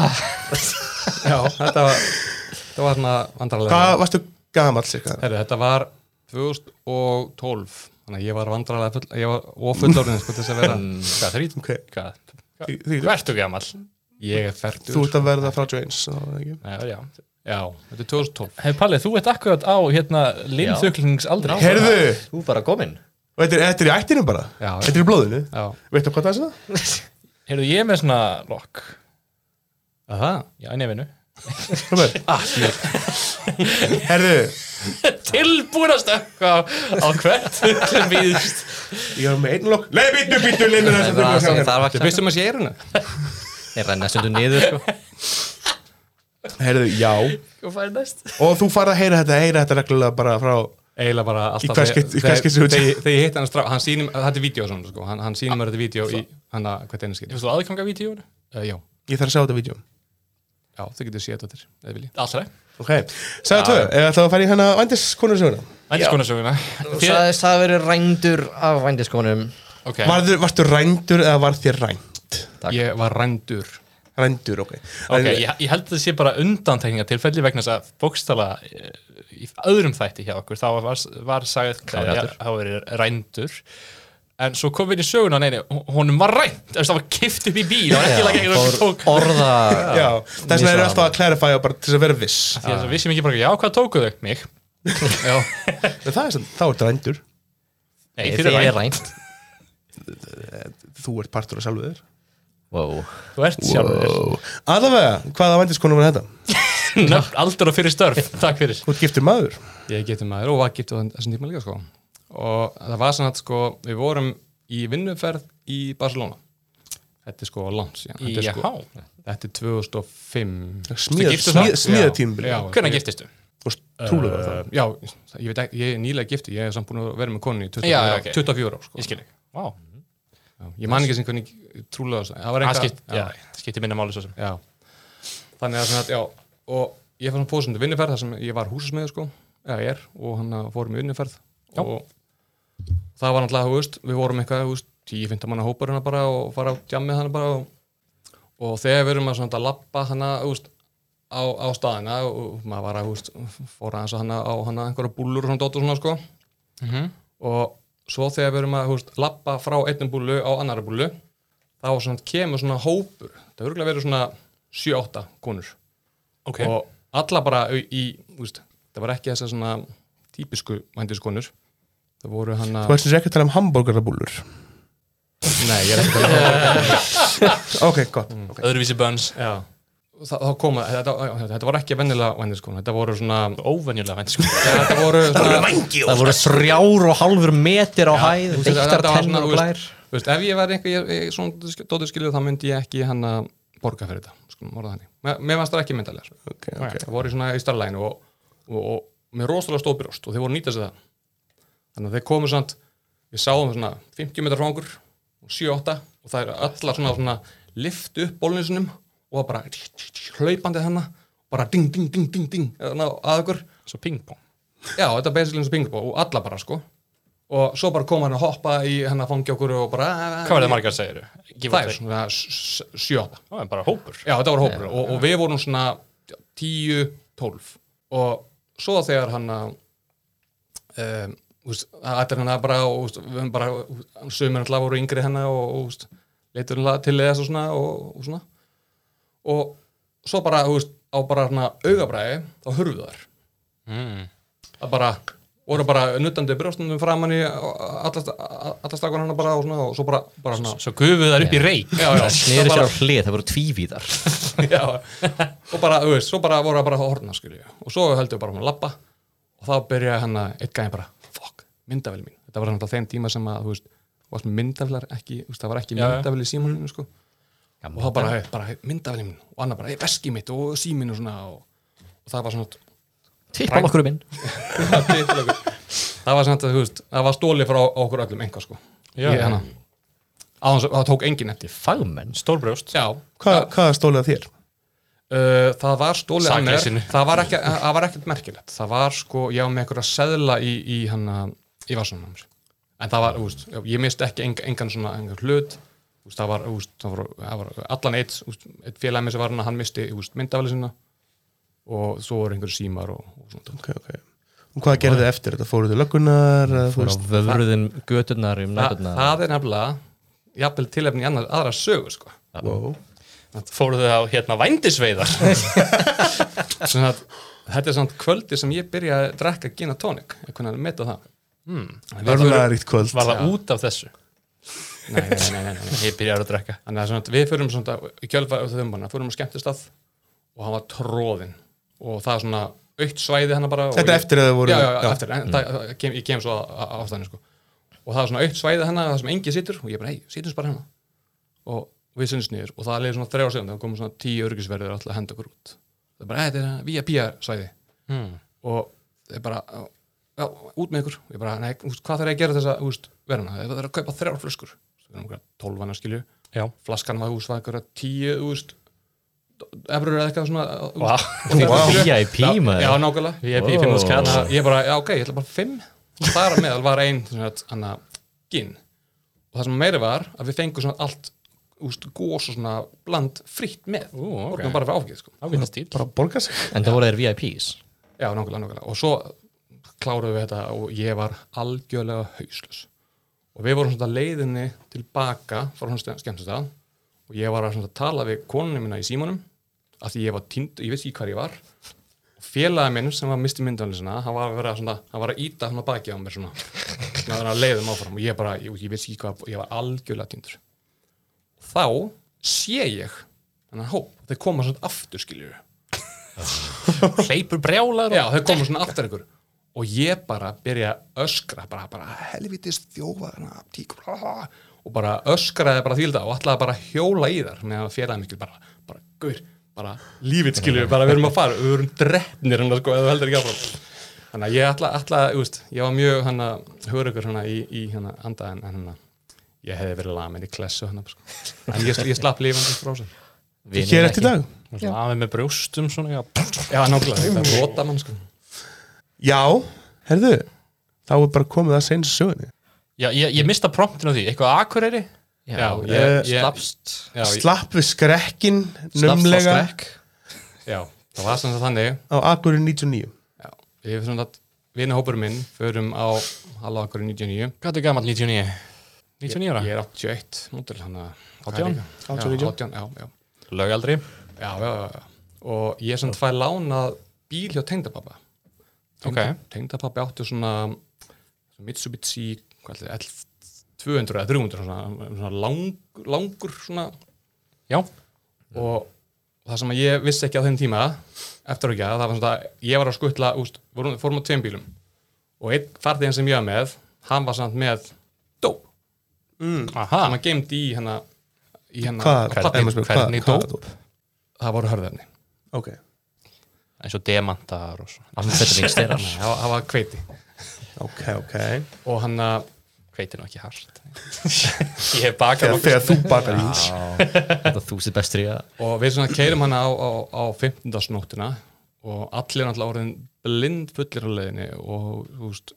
Já, þetta var Þetta var svona vandrarlega Hvað varstu gamall cirka? Herru, þetta var 2012 Þannig að ég var vandrarlega full, Ég var ofullorðin, sko, til þess að vera Hvað, þrítum, Ok. hvað Því- því- Hvað ertu gamall? Ég er færtur Þú ert að verða 31 þá er það ekki. Nei, já Já, þetta er 2012 Hei Palli, þú ert akkurat á hérna linnþöklingsaldri Heyrðu, Þú bara kominn. og þetta er- þetta er í ættinum bara Já. Þetta er í blóðinu Já, Veitu hvað það er það? Heyrðu, ég er með svona lokk aha Já, í nefinu Robert Heyrðu, Tilbúin að stökka á, á hvert sem býðst ég er með einn lokk Nei, býttu, býttu, lindu Það er bara- það þess var Þú ekki... veistum um að sé eirinu? Ég renna stundu niður, sko. Heyrðu, já Hvað færi næst? Og þú farð að heyra þetta, heyra þetta reglulega bara frá Eiginlega bara alltaf hvert skipti- í hvert skipti sem þegar þú- þegar- þegar ég hitt hann strá Hann sýnir, mér- þetta er vídeo svona, sko Hann, hann sýnir mér þetta vídeo í hann að hvert einu skipti Þú veist þú aðganga vídeóinu? uh, Já, Ég þarf að sjá þetta vídeo já, þau getur séð þetta til Eða vilja Allra Ok, segðu tvö, eða þá fær ég hérna vandis konur söguna Vendiskónasöguna Þú sagðist það verið rændur af vændiskonum. Ok Varður, varstu rændur eða var þér rænd? Takk. Ég var rændur Rændur, ok Ok, En- ég, ég held að það sé bara undantekninga tilfelli vegna þess að bókstala eh, í öðrum þætti hjá okkur þá var, var sagðið Klárhjátur. þá verið rændur en svo kom við inn í söguna neini, honum var rænt þess að það var kift upp í bíl það var ekki lagið ekki Fór okkur tók Orða... Já, þess vegna erum við alltaf misráðan. að clarify og bara til þess að vera viss því að við sem ekki bara, já hvað tókuð þau? Mig Já, En það er sem, þá ertu rændur nei, Nei, þið þið er er rænt rænt. Þú ert partur af sjálfu þér Wow. Þú ert sjálfur þér Allavega, hvaða vandiskonu var þetta? Nöfn aldur og fyrir störf, takk fyrir Þú ert giftur maður Ég geti maður og var gift á þessum tíma líka sko og það var sann að sko við vorum í vinnuferð í Barcelona Þetta er sko langt síðan Þetta er, sko, Jaha. þetta er 2005 Smíða, giftur smíða, þá? smíða tímabili Já. Hvernig giftistu? Og trúlega var það Eh, Já, ég veit ekki, ég er nýlega gifti ég hef samt búin að vera með konu í 24, Já, já, ok. 24 ár sko. Ég skil ekki Vá, Já, ég man ekki sem hvernig trúlega þess að það var það eitthvað skipt, já, skipti minna máli svo sem Já. Þannig að svona, að- já, og ég fann fóðsöndu vinnuferð þar sem ég var húsasmiður sko, eða ég er, og hann að fórum í vinnuferð Já. og það var náttúrulega, þú veist, við vorum eitthvað, þú veist, 10-15 manna hópar hana bara og fara á djammið hana bara og, og þegar við erum að svona að lappa hana, þú veist, á, á staðina og maður var að, þú veist, fóra hans að hana á hana einhverja búllur og svona dótt og svona sko og svo þegar við erum að, þú veist, lappa frá einnum búllu á annara búllu þá svona, kemur svona hópur það er örgulega verið svona 7-8 konur Ok, og alla bara í, í þú veist, það var ekki þessar svona típisku vændiskonur það voru hann Þú að ert sem sé ekki að tala um hambúrgarabúllur Nei, ég er ekki að tala um- Mm. Ok, gott ok. öðruvísi bönns Já. Þa- þá koma, þetta, þetta var ekki vennilega vændiskona, þetta voru svona Óvenjulega vendiskona þetta voru svona Það sko. voru þrjár og halvur metir á hæð, þú veist, eittar þetta var svona, tennur og þú blær. veist, þú veist, ef ég var einhver, ég, ég, svona sk- dótið skilur þá myndi ég ekki hann að borga fyrir þetta skulum orða þannig, Me- mér varst það ekki myndalegar Ok, ok. það voru í svona í starlæginu og, og, og með rosalega stóð brjóst og þeir voru að nýta sér það þannig að þeir komu samt, við sáum svona 50 metrar frá okkur, 7-8 og það eru allar svona, svona lift upp bólinusunum og bara hlaupandi hana, bara ding, ding, ding, ding, ding þarna að okkur Svo pingpong Já, þetta er basically eins og pingpong og alla bara sko og svo bara koma hann að hoppa í hann að fangja okkur og bara Hvað var það margar segir þú? Það er svona sjöta Það er bara hópur Já, þetta var hópur og, og við vorum svona já, 10, 12 og svo þegar hann að um, úst, að hann að bara, og, úst, við höfum bara sömur alltaf voru yngri hennar og, og úst, leitur hann til þess og svona og, og svona og svo bara, úst, á bara svona augabræði þá hurfu þar mm. að bara voru bara nuttandi brjóstundum framann í allastakon hana bara og svona og svo bara, bara svona Svo gufuð þær upp í reik já, já, Það svo snýri sér bara, á hlið, það voru tvívíðar. já, og bara, þú veist, svo bara voru að bara horna skilju og svo heldur við bara um að lappa og þá byrjaði hann að eitt gæði bara, fuck, myndavel mín, þetta var náttúrulega þeim tíma sem að þú veist, þú varst með myndavilar ekki, þú veist, það var ekki Já, já. myndavil í símanum sko. Já, og það bara, hey, bara hey, myndavil minn og annar bara, hey, veski mitt og símin og svona og, og það var svona Tippa okkur um inn Já, titlagur. það var samt að þú veist það var stólið frá okkur öllum einhvað sko Já. Ég, hana, aðeins, það tók engin eftir Fagmenn Stórbrjóst já, Hva, hvað stólaði þér? uh, það var stólið að mér Sakleysinu. það var, ekki, það var ekkert merkilegt það var sko, ég var með einhverja seðla í, í hana, í vassunum hans en það var, þú veist, já, ég misti ekki engan, engan svona engan hlut Þú veist, það var, þú veist, það var, það var allan eitt, þú veist, eitt félagmi sem var hérna, hann, hann misti þú veist, myndafæli sinna og svo voru einhverju símar og, og svona Ok, ok. Og hvað gerði þið eftir? Það fóruð til löggunar? eða þú Fór á veist? vöfruðum göturnar um Þa, næturnar það er nefnilega jafnvel tilefni í annar, aðra sögu sko. Wow. Fóruð þið á hérna vændisveiðar Sem að, þetta er samt kvöldi sem ég byrja að drekka gin og tónik einhvern veginn að meta það hmm. Örlaðaríkt kvöld. Var það út af þessu? nei, nei, nei, nei, nei. Ég byrjar að drekka Þannig að svona, við fyrum svona í kjölfa og þau bara, fyrum á skemmtistað og hann var tróðinn og það er svona aukt svæði hennar bara og Þetta ég- eftir að það voru- já, já, já, já. eftir, en, það, það, kem, ég kem svo að- að ástæðinu sko. og það er svona aukt svæði hennar það sem engi situr og ég bara, hei, situm bara hennar og við sinns niður og það leiði svona þrjá segund það komum svona tíu örgisverðir alltaf að henda okkur út það er hérna bara, "Æ, þetta er vía pía svæði hmm. og þeir bara já, út með ykkur, ég bara, nei, úst, hvað þarf ég að gera þess að úst, verðina, það þarf að kaupa þrjár flöskur það er umhverja tólfana skilju Já. flaskan var úst, var einhverja tíu úst, efrur eða eitthvað svona úst, Vá. og þeir- Vá. skilju. VIP, Já, maður. já, nákvæmlega, Ég Wow. býr fyrir múl skall Þannig að ég bara, já, ok, ég ætla bara fimm og þar að meðal var ein svona, hann að ginn og það sem meira var að við fengum svona allt úst, gós og svona bland frýtt með Ú, ok. og bara fyrir áfgið sko. Ágæta stíl Bara að borga sig. En það voru þeir VIPs Já, nákvæmlega, nákvæmlega. Og svo kláruðum við þetta og ég var algjörlega hauslös. Og við vorum svona leiðinni tilbaka frá hann skemmtistað og ég var að svona tala við konunum minna í símanum af því ég var týnd, ég vissi ekki hvar ég var og félagið minn sem var misti myndavalisina hann var að vera svona, hann var að íta hann að baki á mér svona, svona að vera að leiðum áfram og ég bara, ég, ég vissi ekki hvað, ég var algjörlega týndur. Þá sé ég þannig hóp, þeir koma svona aftur skiljur Hleypur brjálar Já, þau komu svona aftur ykkur og ég bara byrja að öskra bara, bara helvitis þjófa hana, tíkur, bla, bla, bla, og bara öskraði bara því þetta og ætlaði bara að hjóla í þar með að félagi mikil bara, bara gaur, bara lífið skilur við bara við erum að fara, við erum drefnir hann sko, eða heldur ekki áfram þannig að ég ætla, ætla, þú veist, ég var mjög hann að höra ykkur hann í, í hann að anda en hann ég hefði verið lamin í klessu hann sko. en ég, ég slapp lífandi frá sér Vinir Hér ekki. eftir í dag? Aðeins með brjóstum svona já. Já, nákvæmlega, þetta er rota mann sko Já, herðu. Þá er bara komið að seins sögunni. Já, ég, ég mista promptinu á því Eitthvað akureyri Já, Já, ég- ég Slappst Já, ég- Slapp við skrekkin, Slappst á nömlega, skrekk já, það var sem sagt þannig á Akurinn 99. Já, við svona að vinahópur minn förum á Halla Akkur 99 Hvað er gammal 99? 99 ára? Ég er 81 mótil hann að 18? 18, 18, já, já, Laugaldri já, já, já, já. Og ég sem fæ lánað bíl hjá tengdapappa Ok. Tengdapappi átti svona Mitsubishi, hvað er þetta, 200 eða 300 svona, svona lang, langur svona Já og það sem að ég vissi ekki á þeim tíma eftir ekki að það var svona að ég var að skuttla úst, vorum, fórum á tveim bílum og einn farþeginn sem ég var með hann var samt með dóp Aha hann var geimd í hennar í hérna hennar Hvað? á pappír. Emma spyr, hvað- hvernig hvað- það voru hörðefni Ok. Eins og demantar og svona Amfetamín styrar Nei, það var- það var kveiti Ok, ok. og hann uh, að Hveitir nú ekki hart Ég hef bakað Þegar, nokkuð. þegar þú bakar í. Þetta þú sér bestur í að og við svona keirum hana á, á, á 15. nóttina og allir náttúrulega orðin blind fullir á leiðinni og þú veist,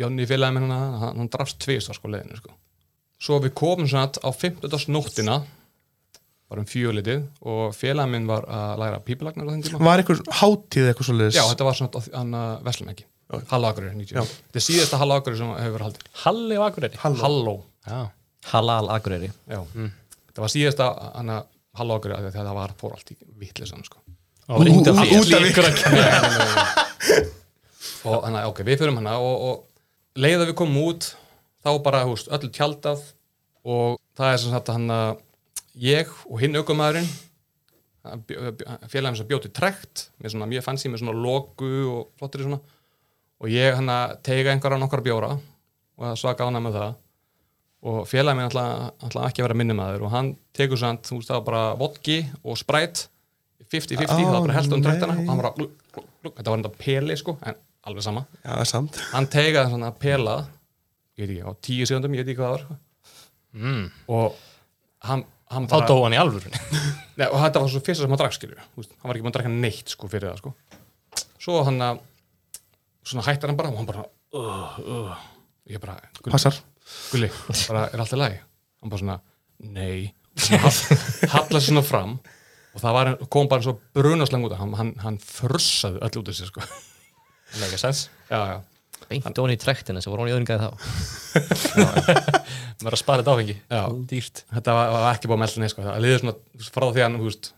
Jónni félagi minn hana, hann, hann drafst tvist á sko leiðinni sko. svo við komum svona á 15. nóttina bara um fjölitið og félagi minn var að læra pípilagnar á þenn tíma Var einhver hátíð eitthvað svo leiðis? já, þetta var svona á- hann uh, verslum ekki Hallakurur, 90 þetta er síðasta Hallakurur sem hefur verið haldið Halli og akureyri Halló, Já halal akureyri Já. þetta var síðasta Hallakurur þegar það var fór allt í vittlisann sko. Og það er út af því. Út af ykkur. og hann að, ok, við fyrir hana og, og leið að við komum út þá bara, þú veist, öllu tjaldað og það er sem sagt hann að ég og hinn aukumæðurinn félagum sem bjóti trekt með svona, mjög fancy, með svona loku og flottri svona og ég hann að tega einhverja nokkar bjóra og það svaka ánæg með það og félagin minn alltaf, alltaf ekki að vera minni maður og hann tekur sann, þú veist það var bara vodki og sprætt Ó, 50-50, það var bara held um nei. drættana og hann var að glug, glug, glug, þetta var enda peli sko, en alveg sama Já, það er samt hann tegaði svona pelað ég veit ekki, á tíu segundum, ég veit ekki hvað það var sko. mm. og hann, hann Þá dó hann í alvörunni Nei, og þetta var svo fyrsta sem hann drakk, skilju. Hann var ekki búinn að drakka neitt, sko, fyrir það, sko. Svo hann að, svona hættar hann bara og hann bara, uh, uh. Ég bara, gulli, Passar gulli, bara, er allt í lagi? Hann bara svona, nei. Og svona hall- Hallar svona fram og það var, kom bara svo brunaslang út af. Hann, hann, hann frussaði öll út af sér, sko. Mega sens Já, já. beint ofan í trektina sem voru hann í öðringaði þá Maður er að spara þetta áfengi já. Dýrt. Þetta var, var ekki búið að melda neitt, sko. Það liðið svona, frá því hann, þú veist,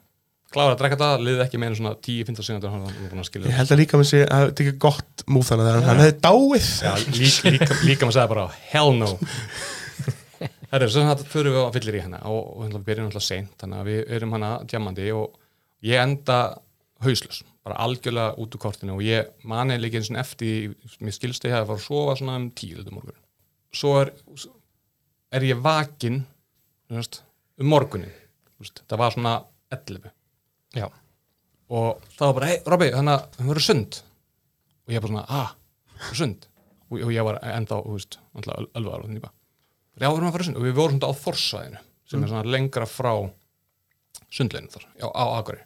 klára að drekka það, liðið ekki með einu svona 10-15 sekundur, hann var búinn að skilja Ég held að líka með sig að þetta er ekki gott múð þannig að hann hefði dáið Já, líka, líka, líka maður sagði bara hell no Það er svona að fyrir við á fyllir í hana og, og hérna, við byrjum alltaf seint þannig að við erum hana djamandi og ég enda hauslaus, bara algjörlega út úr kortinu og ég mani líka eins og eftir mér skilsti að fara að sofa svona um tíu þetta morgun svo er, er ég vakin veist, um morgunin þú veist, það var svona 11 Já og það var bara, hei Robby, þannig að hún verður sund og ég bara svona, ah, hún er sund og, og ég var enda, þú veist, alltaf elvaðar og þannig bara, já, við erum að fara í sund og við vorum svona á Þorsvæðinu, sem er svona lengra frá sundleginu þar, já, á Akari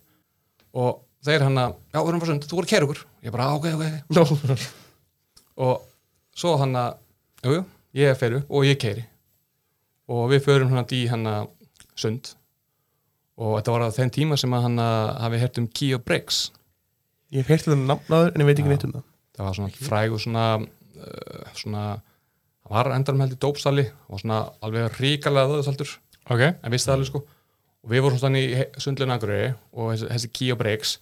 og þeir hann að, já, við erum að fara í sund, þú voru að kæra okkur ég bara, "Ah, ok, ok, ok Nó og svo hann að, jú, jú, ég fer upp og ég keiri og við förum hann í hann að sund og þetta var á þenn tíma sem að hann að hafi hert um Key og Breaks Ég hef heyrt þetta nafnaður en ég veit ekki neitt um það það var svona frægur svona, uh, svona hann var endanum held í dópsali og svona alveg ríkalega aðöðsaldur Ok en vissi það alveg sko og við vorum svona í sundluna agröri og þessi, þessi Kio Breaks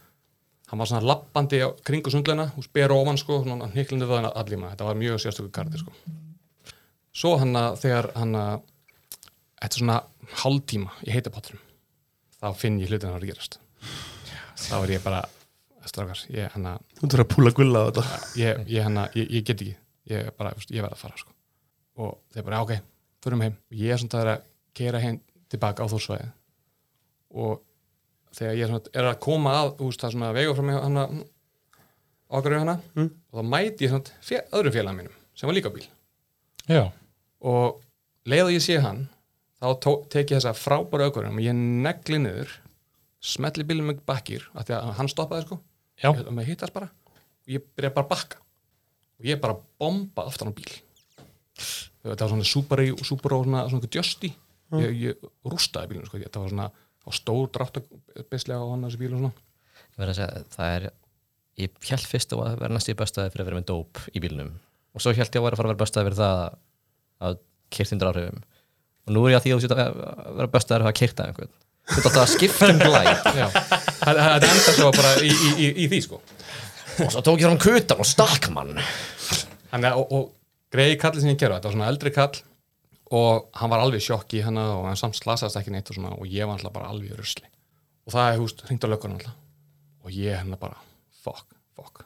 hann var svona lappandi á kringu sundluna og spyr ofan sko, svona hniklandi við hann allíma þetta var mjög sérstöku karti sko svo hann að þegar hann að þetta er svona hálftíma í heitapotturum þá finn ég hlutin að gerast þá er ég bara strákar, ég hann að Þú þurfir að púla gulla á þetta ég, ég, hana, ég, ég get ekki ég, bara, veist, ég verð að fara sko. og þeir bara, "Já, ok, förum heim og ég er svona að vera að kera heim tilbaka á þórsvæði og þegar ég er, svona, er að koma að úst, það er svona vegu frá mig hana, okkur hana og þá mæti ég svona fjö, öðru félag mínum sem var líka á bíl Já og leiðu ég sé hann þá tó, tek ég þessa frábæra aukurinn og ég negli niður smetli bílum með bakkir af því að hann stoppaði sko Já. og maður hittast bara og ég byrja bara að bakka og ég bara bomba aftan á bíl þetta var svona Subaru, Subaru og svona, svona einhver djösti ég, ég rústaði bílum sko þetta var svona á stór dráttabislega á hann þessi bíl og svona Ég verð að segja, það er ég held fyrst að vera næst í bestaði fyrir að vera með dóp í bílnum og svo held ég að vera að fara að vera bestaði fyrir það að kyrta undir áhrifum og nú er ég að því að þú sér að vera bestaði fyrir að kyrta einhvern þú ert alltaf að skipta um glæ Já. það það- þetta enda svo bara í, í, í, í því sko og svo tók ég fram kutan og stakk mann Þannig að, og, og greiði kallið sem ég gera, þetta var svona eldri kall og hann var alveg í sjokki í hana og hann samt slasaðist ekki neitt og svona og ég var alltaf bara alveg í rusli og það er húst, hringd á löggunum alltaf og ég hérna bara, fuck, fuck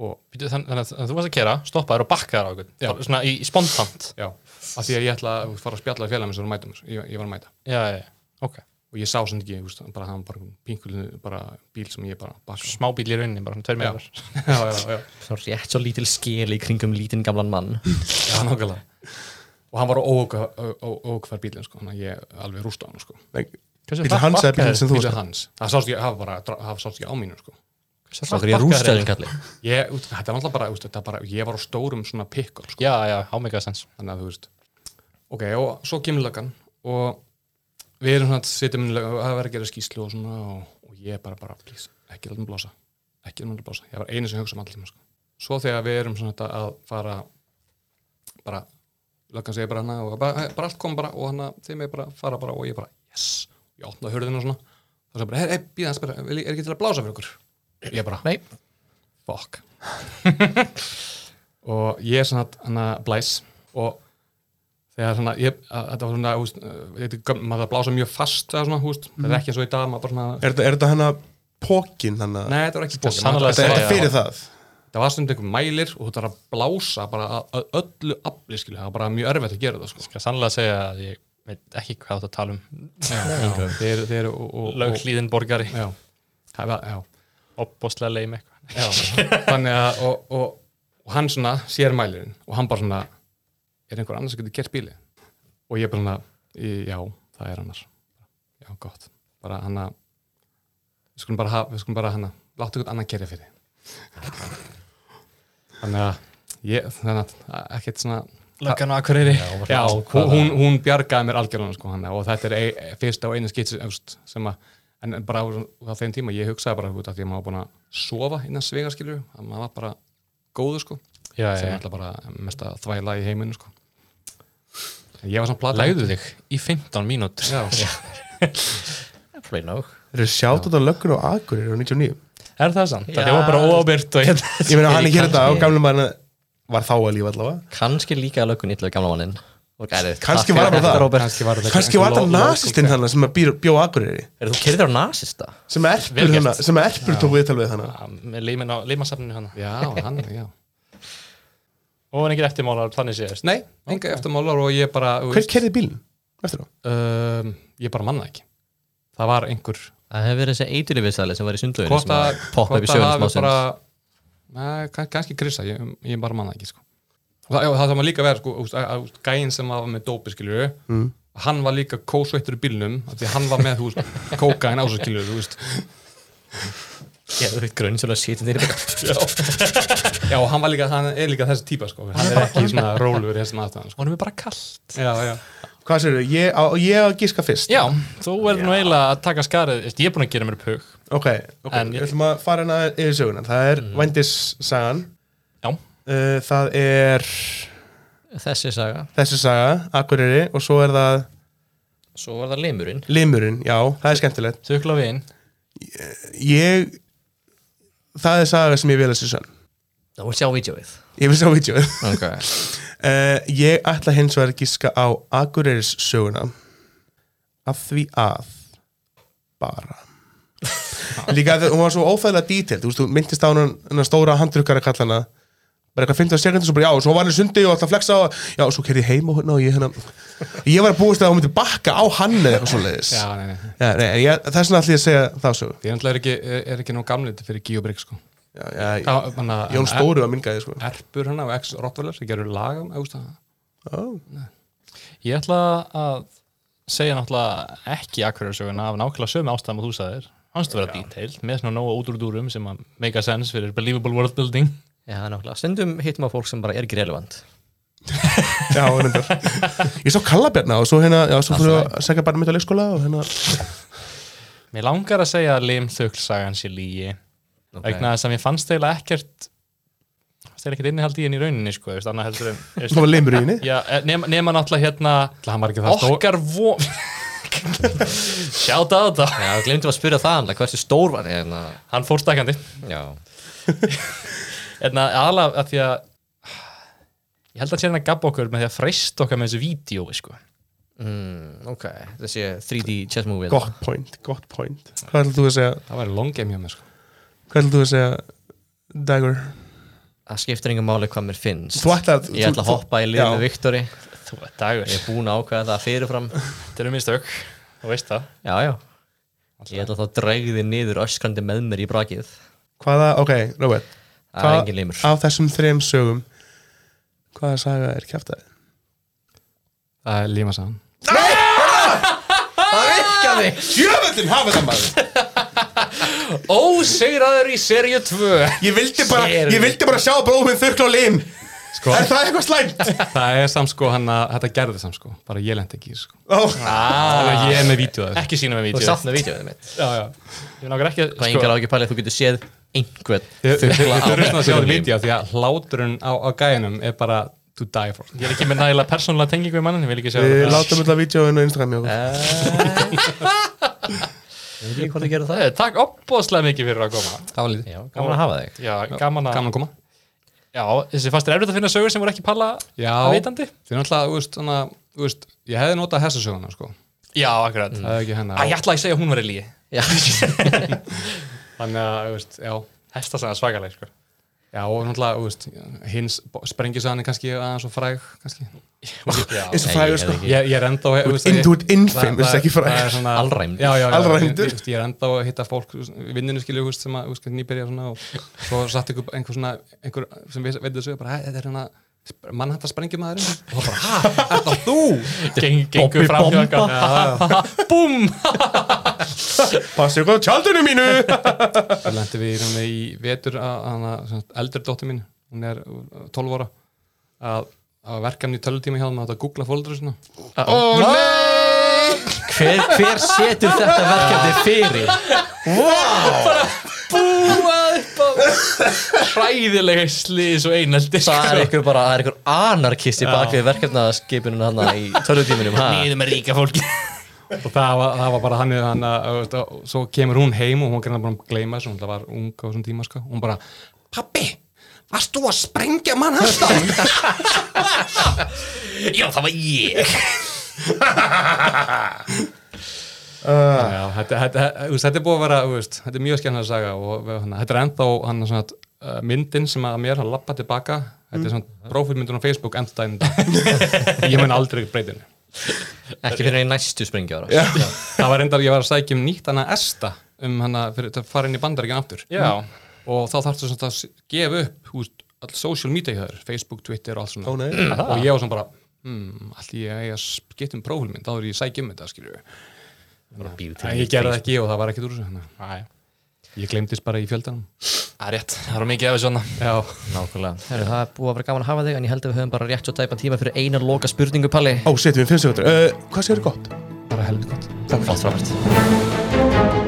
og Býtu, þann- Þannig að þú varst að kera, stoppaður og bakkaður á Já. okkur Svona í, í spontant já, af því að ég ætla að þú veist, fara að spjalla félagum sem voru að mæta mér, ég, ég var að mæta Já, já, já Ok og ég sá sem ekki, húst, bara hann bara pinkulinu, bara bíl sem ég bara bakka Smábíl í rauninni, bara svona tveir Já. meðar já, já, já, svo rétt svo lítil skeli í kringum lítinn gamlan mann já, nákvæmlega og hann var ókvar bílinn sko, þannig að ég alveg rústa hann sko Bíl hans eða bíl sem þú bílið varst hans það sást ekki, það var bara, það sást ekki á mínu sko. svo okkur ég rústaði um kalli ég, út, þetta er alltaf bara, út, þetta er bara ég var á stórum svona pick-up sko. Já, já, hámegaðsens þannig að þú veist ok, og svo kemur löggan og við erum svona að sitja minni löggan og það verður að gera skýslu og svona og, og ég bara, bara, please, ekki látum blása ekki látum blása, ég var einu sem hugsa um allir sko. svo þegar við erum svona þetta að fara bara löggan segir bara hana og bara, eh, bara allt kom bara og hana, þeim er bara að fara bara og ég bara, yes, ég opnaði hurðinu og svona og það er bara, hei, hei, býða hans bara vil ég- er ekki til að blása fyrir okkur ég bara, nei, fuck og ég er svona hann að blæs og þegar svona ég, að, þetta var svona eh, húst, maður það blása mjög fast eða svona, húst, það Mhm. er ekki eins og í dag maður bara svona, Er þetta- er þetta hennar pókin hann að nei þetta var ekki Sannlega Þetta er Já, þetta já. fyrir það það var stundum einhver mælir og þú þarf að blása bara að- að öllu afli skilur, það var bara mjög erfitt að gera það sko. Skal sannlega segja að ég veit ekki hvað þú ert að tala um. já, þeir, þeir og, og, og, Löghlíðin borgari, já, það var, já opbóstlega leim eitthvað. Já, þannig að og, og, og hann svona sér mælirinn og hann bara svona er einhver annars sem getur gert bíli og ég bara svona, í- já, það er annars já, gott, bara hann að við skulum bara, hafa- við skulum bara hann að láta einhvern annan kerja fyrir þannig að ég, þannig að ekkert svona Löggan á Akureyri. já, hún, hún, hún bjargaði mér algjörlega sko hann og þetta er ei, ei- fyrsta og eina skitsi öfst, sem að, en bara á, á þeim tíma ég hugsaði bara, þú veit, að ég maður búin að sofa hérna innan svegarskilju, að maður var bara góður sko, Já, sem já. er alltaf bara mesta þvæla í heiminu sko En ég var svona plata Legðu þig í 15 mínútur. já, já. Play no Þeir eru sjátt á löggun á Akureyri á 99 Er það sant? Já. Það var bara óábyrgt og hérna. Ég meina hann er hér þetta og gamlega maður var þá að lífa allavega Kannski líka að löggun illa við gamla mannin Kannski var það bara það. kannski var þetta Kanski var það nasistinn þannig sem að býr- bjó á Akureyri Er þú kerðir á nasista? sem að Vel erpur, gert. hana, sem að erpur tók viðtal við hana Með limin á limasafninu hana. já, hann, já Og hann er ekki eftirmálar, þannig séðast. nei, enga eftirmálar og ég bara þú Hver veist, kerði bílinn? Eftir á? um, ég bara manna ekki það var einhver Það hefur verið þessi eiturlifisæli sem var í sundlöginni hvort sem að að poppa upp hvort í að sögurinn hafi smá bara, sinn Nei, kann- kannski krissa, ég, ég bara manna ekki sko. og það, já, það þarf maður líka að vera sko, úst, að, úst, gæin sem var með dópi skilju mm. hann var líka kósveittur í bílnum af því að hann var með þú veist, kókain á svo skilju þú veist. Geður grunnsjóla sýtin þér já og hann var líka, hann er líka þessi típa sko. hann er ekki svona rólur hessin aftan sko. Hún er bara kallt. já, já, Hvað sér þau? Ég, á- ég á að giska fyrst Já, þú verður nú eiginlega að taka skarið. Veist, Ég er búin að gera mér pug. Ok, ok, En- við ætlum að fara hana yfir söguna Það er vændissagan Já. uh, Það er Þessi saga þessi saga, Akureyri og svo er það Svo var það limurinn Limurinn, já, það er skemmtilegt Þukla við inn. Ég, það er saga sem ég vil að sér sönn Það voru sjá vídjóið Ég vil sjá vídjóið Ok Uh, ég ætla hins vegar að gíska á Akureyris söguna af því að bara líka að hún var svo ófæðilega dítild þú veist, þú myndist á hún hennar stóra handrukkara kallana bara eitthvað 15 sekundir svo bara já, og svo var hann í sundi og alltaf flexa og já, og svo kerði ég heim og hérna og ég hérna ég var að búast að hún myndi bakka á hann eða eitthvað svo leiðis já nei, nei. já, nei, en ég, þess vegna ætla ég að segja þá sögu því náttúrulega er ekki, er, er ekki nóg gamlið fyrir Geobrick sko. já, já, Já, þannig að- Jón Stóru var minn gæði sko erpur hann á ex-rottvelar sem gerur lagum Ó. Ég ætla að segja náttúrulega ekki akkurjörsöguna af nákvæmlega sömu ástæðum að þú sagðir hans að vera detailed, með svona nóga útrúdúrum sem að make a sense fyrir believable world building Já, nákvæmlega Stundum hittum að fólk sem bara er ekki relevant Já, reyndar. Ég sá Kallabjarna og svo hérna, já, svo fyrir að segja bara mitt á leikskóla og hérna Mér langar að segja að Lim Þöglsagan sé lígi vegna þess að mér fannst eiginlega ekkert fannst eiginlega ekkert innihald í henni í rauninni sko, þú veist, annað heldur en þú Það veist, var limur í henni já, eh, nema, nema náttúrulega hérna hann var ekki það stór okkar von Sjáta á þetta Já, glemdi að spyrja það annað Hversu stór var ég Hann fór stakkandi Já En að alveg að Hérna, því að ég held að sé hann að gabba okkur með því að freist okkar með þessu vídjói sko. mm, Ok Þessi 3D chess movie Gott point, gott point Hvað ætlum þú að segja, það væri long game hjá mér sko. hvað ætlum þú að segja Dagger Það skiptir engum máli hvað mér finnst Þú ætlar að- Ég ætla að þú- hoppa í lið Já. með Viktori Þú er dagur. Ég er búin að ákveða það fyrirfram Þetta eru mistök. Þú veist það. Já, já Ég ætla þá drægði niður öskrandi með mér í brakið Hvaða, ok, Robert Það er Hvað engin limur. Af þessum þrem sögum Hvaða saga er kjaftaði? það er límasagan Það virkaði! Jöfnvöldin hafa það maður Ó, segir aður í serju 2. Ég vildi bara, ég vildi bara sjá bróðum þurkla og lim Sko. Er það eitthvað slæmt? Það er samt sko hann að þetta gerði samt sko bara ég lendi ekki í þessu, sko Ó, Þannig að ég er með vítjóð af þessu Ekki sína með Þú vídjói. satt með vídeoðið mitt Já, já. Ég nákar ekki að... sko, Það er engar ágjur pælið, þú getur séð einhvern Þið þið- þið fugla á þurfum svona að sjá þetta einhverjum vítjóð því að hláturinn á, á gæjanum er bara to die for Ég er ekki með nægilega persónulega tengingu við mannin, ég vil ekki segja Við það. látum alltaf vídjóinu á Instagram hjá okkur Eh. Ég veit ekki hvort þú gerir það Eh, Takk opbóðslega mikið fyrir að koma. Það var lítið Já, gaman að hafa þig Já, gaman að... Gaman að koma Já, þessi fannst er erfitt að finna sögur sem voru ekki palla Já að vitandi. Því náttúrulega, þú veist, þannig að, þú veist Ég hefði notað hessa söguna sko Já, akkurat. Það er ekki hennar Mm. Æ, ég ætla að segja að hún var í lígi. Já, Þannig að, þú veist, já Hesta sagði svakaleg, sko. Já, Já, og náttúrulega, þú veist, hins sprengisaðan er kannski aðeins og fræg, kannski. eins og Nei, frægur ég sko veit ekki. Ég, ég er enda á... ert in- þú ert infamous, ekki fræg. Alræmdur. Já, já, já. Alræmdur. Ég, ég, ég er enda á að hitta fólk, þú veist, vinninu skilju, þú veist, sem að, þú veist, nýbyrja svona og svo satt ykkur einhver svona, einhver sem veit þessu, ég bara, "Hæ, þetta er hérna mann hættar sprengjumæðurinn og það bara, hæ, er það þú? Geng- Gengur fram hjá eitthvað Búm passi ykkur á tjaldinu mínu Eh. Það lendi við hérna í vetur að, að, að eldri dóttir mín, hún er uh, 12 ára, að, að verkefni í tölutíma hjá þeim að þetta googla fóldur svona. Ó, nei! hver, hver setur þetta verkefni fyrir? Búað upp á Hræðilega slís og einaldi Það er ykkur bara, það er ykkur anarkisti bak við verkefnaskipunum hann í tölvutíminum, ha? Nýðum með ríka fólki og það var, það var bara hann hann að, þú veist, og svo kemur hún heim og hún gerði bara að gleyma þessu, hún náttúrulega var ung á þessum tíma sko, hún bara, pappi varst þú að sprengja mann hastan? Já, það var ég Já, þetta, þetta, þetta, þú veist, þetta er búið að vera, þú veist, þetta er mjög skemmtilega saga og við- hann, þetta er ennþá hann, svona, uh, myndin sem að mér hann lappa tilbaka, þetta er svona prófilmyndun á Facebook ennstæðin ég mun aldrei breytinu. Ekki fyrir í næstu springjára. Það var endar, ég var að sækja um nýtt hann að esta um hann að fyrir- til að fara inn í bandaríkjan aftur. Já, og þá þarftu svona að s- gefa upp húst, all social media hjá þér, Facebook, Twitter og allt svona Ó, nei. og ég var svona bara hmm, allir ég eiga að skipta um prófilmynd þá er ég að sækja um þetta skilju ég gerði það ekki og það var ekkert úr þessu þannig Æ, að ég glemdist bara í fjöldanum það er rétt, það var mikið af þessu hana já, Nákvæmlega. Herru, það er búið að vera gaman að hafa þig, en ég held að við höfum bara rétt svo dæpa tíma fyrir eina loka spurningu, Palli. Eh, Ó, setjum við fimm sekundur uh, Hvað séu gott? bara helviti gott Flott frábært.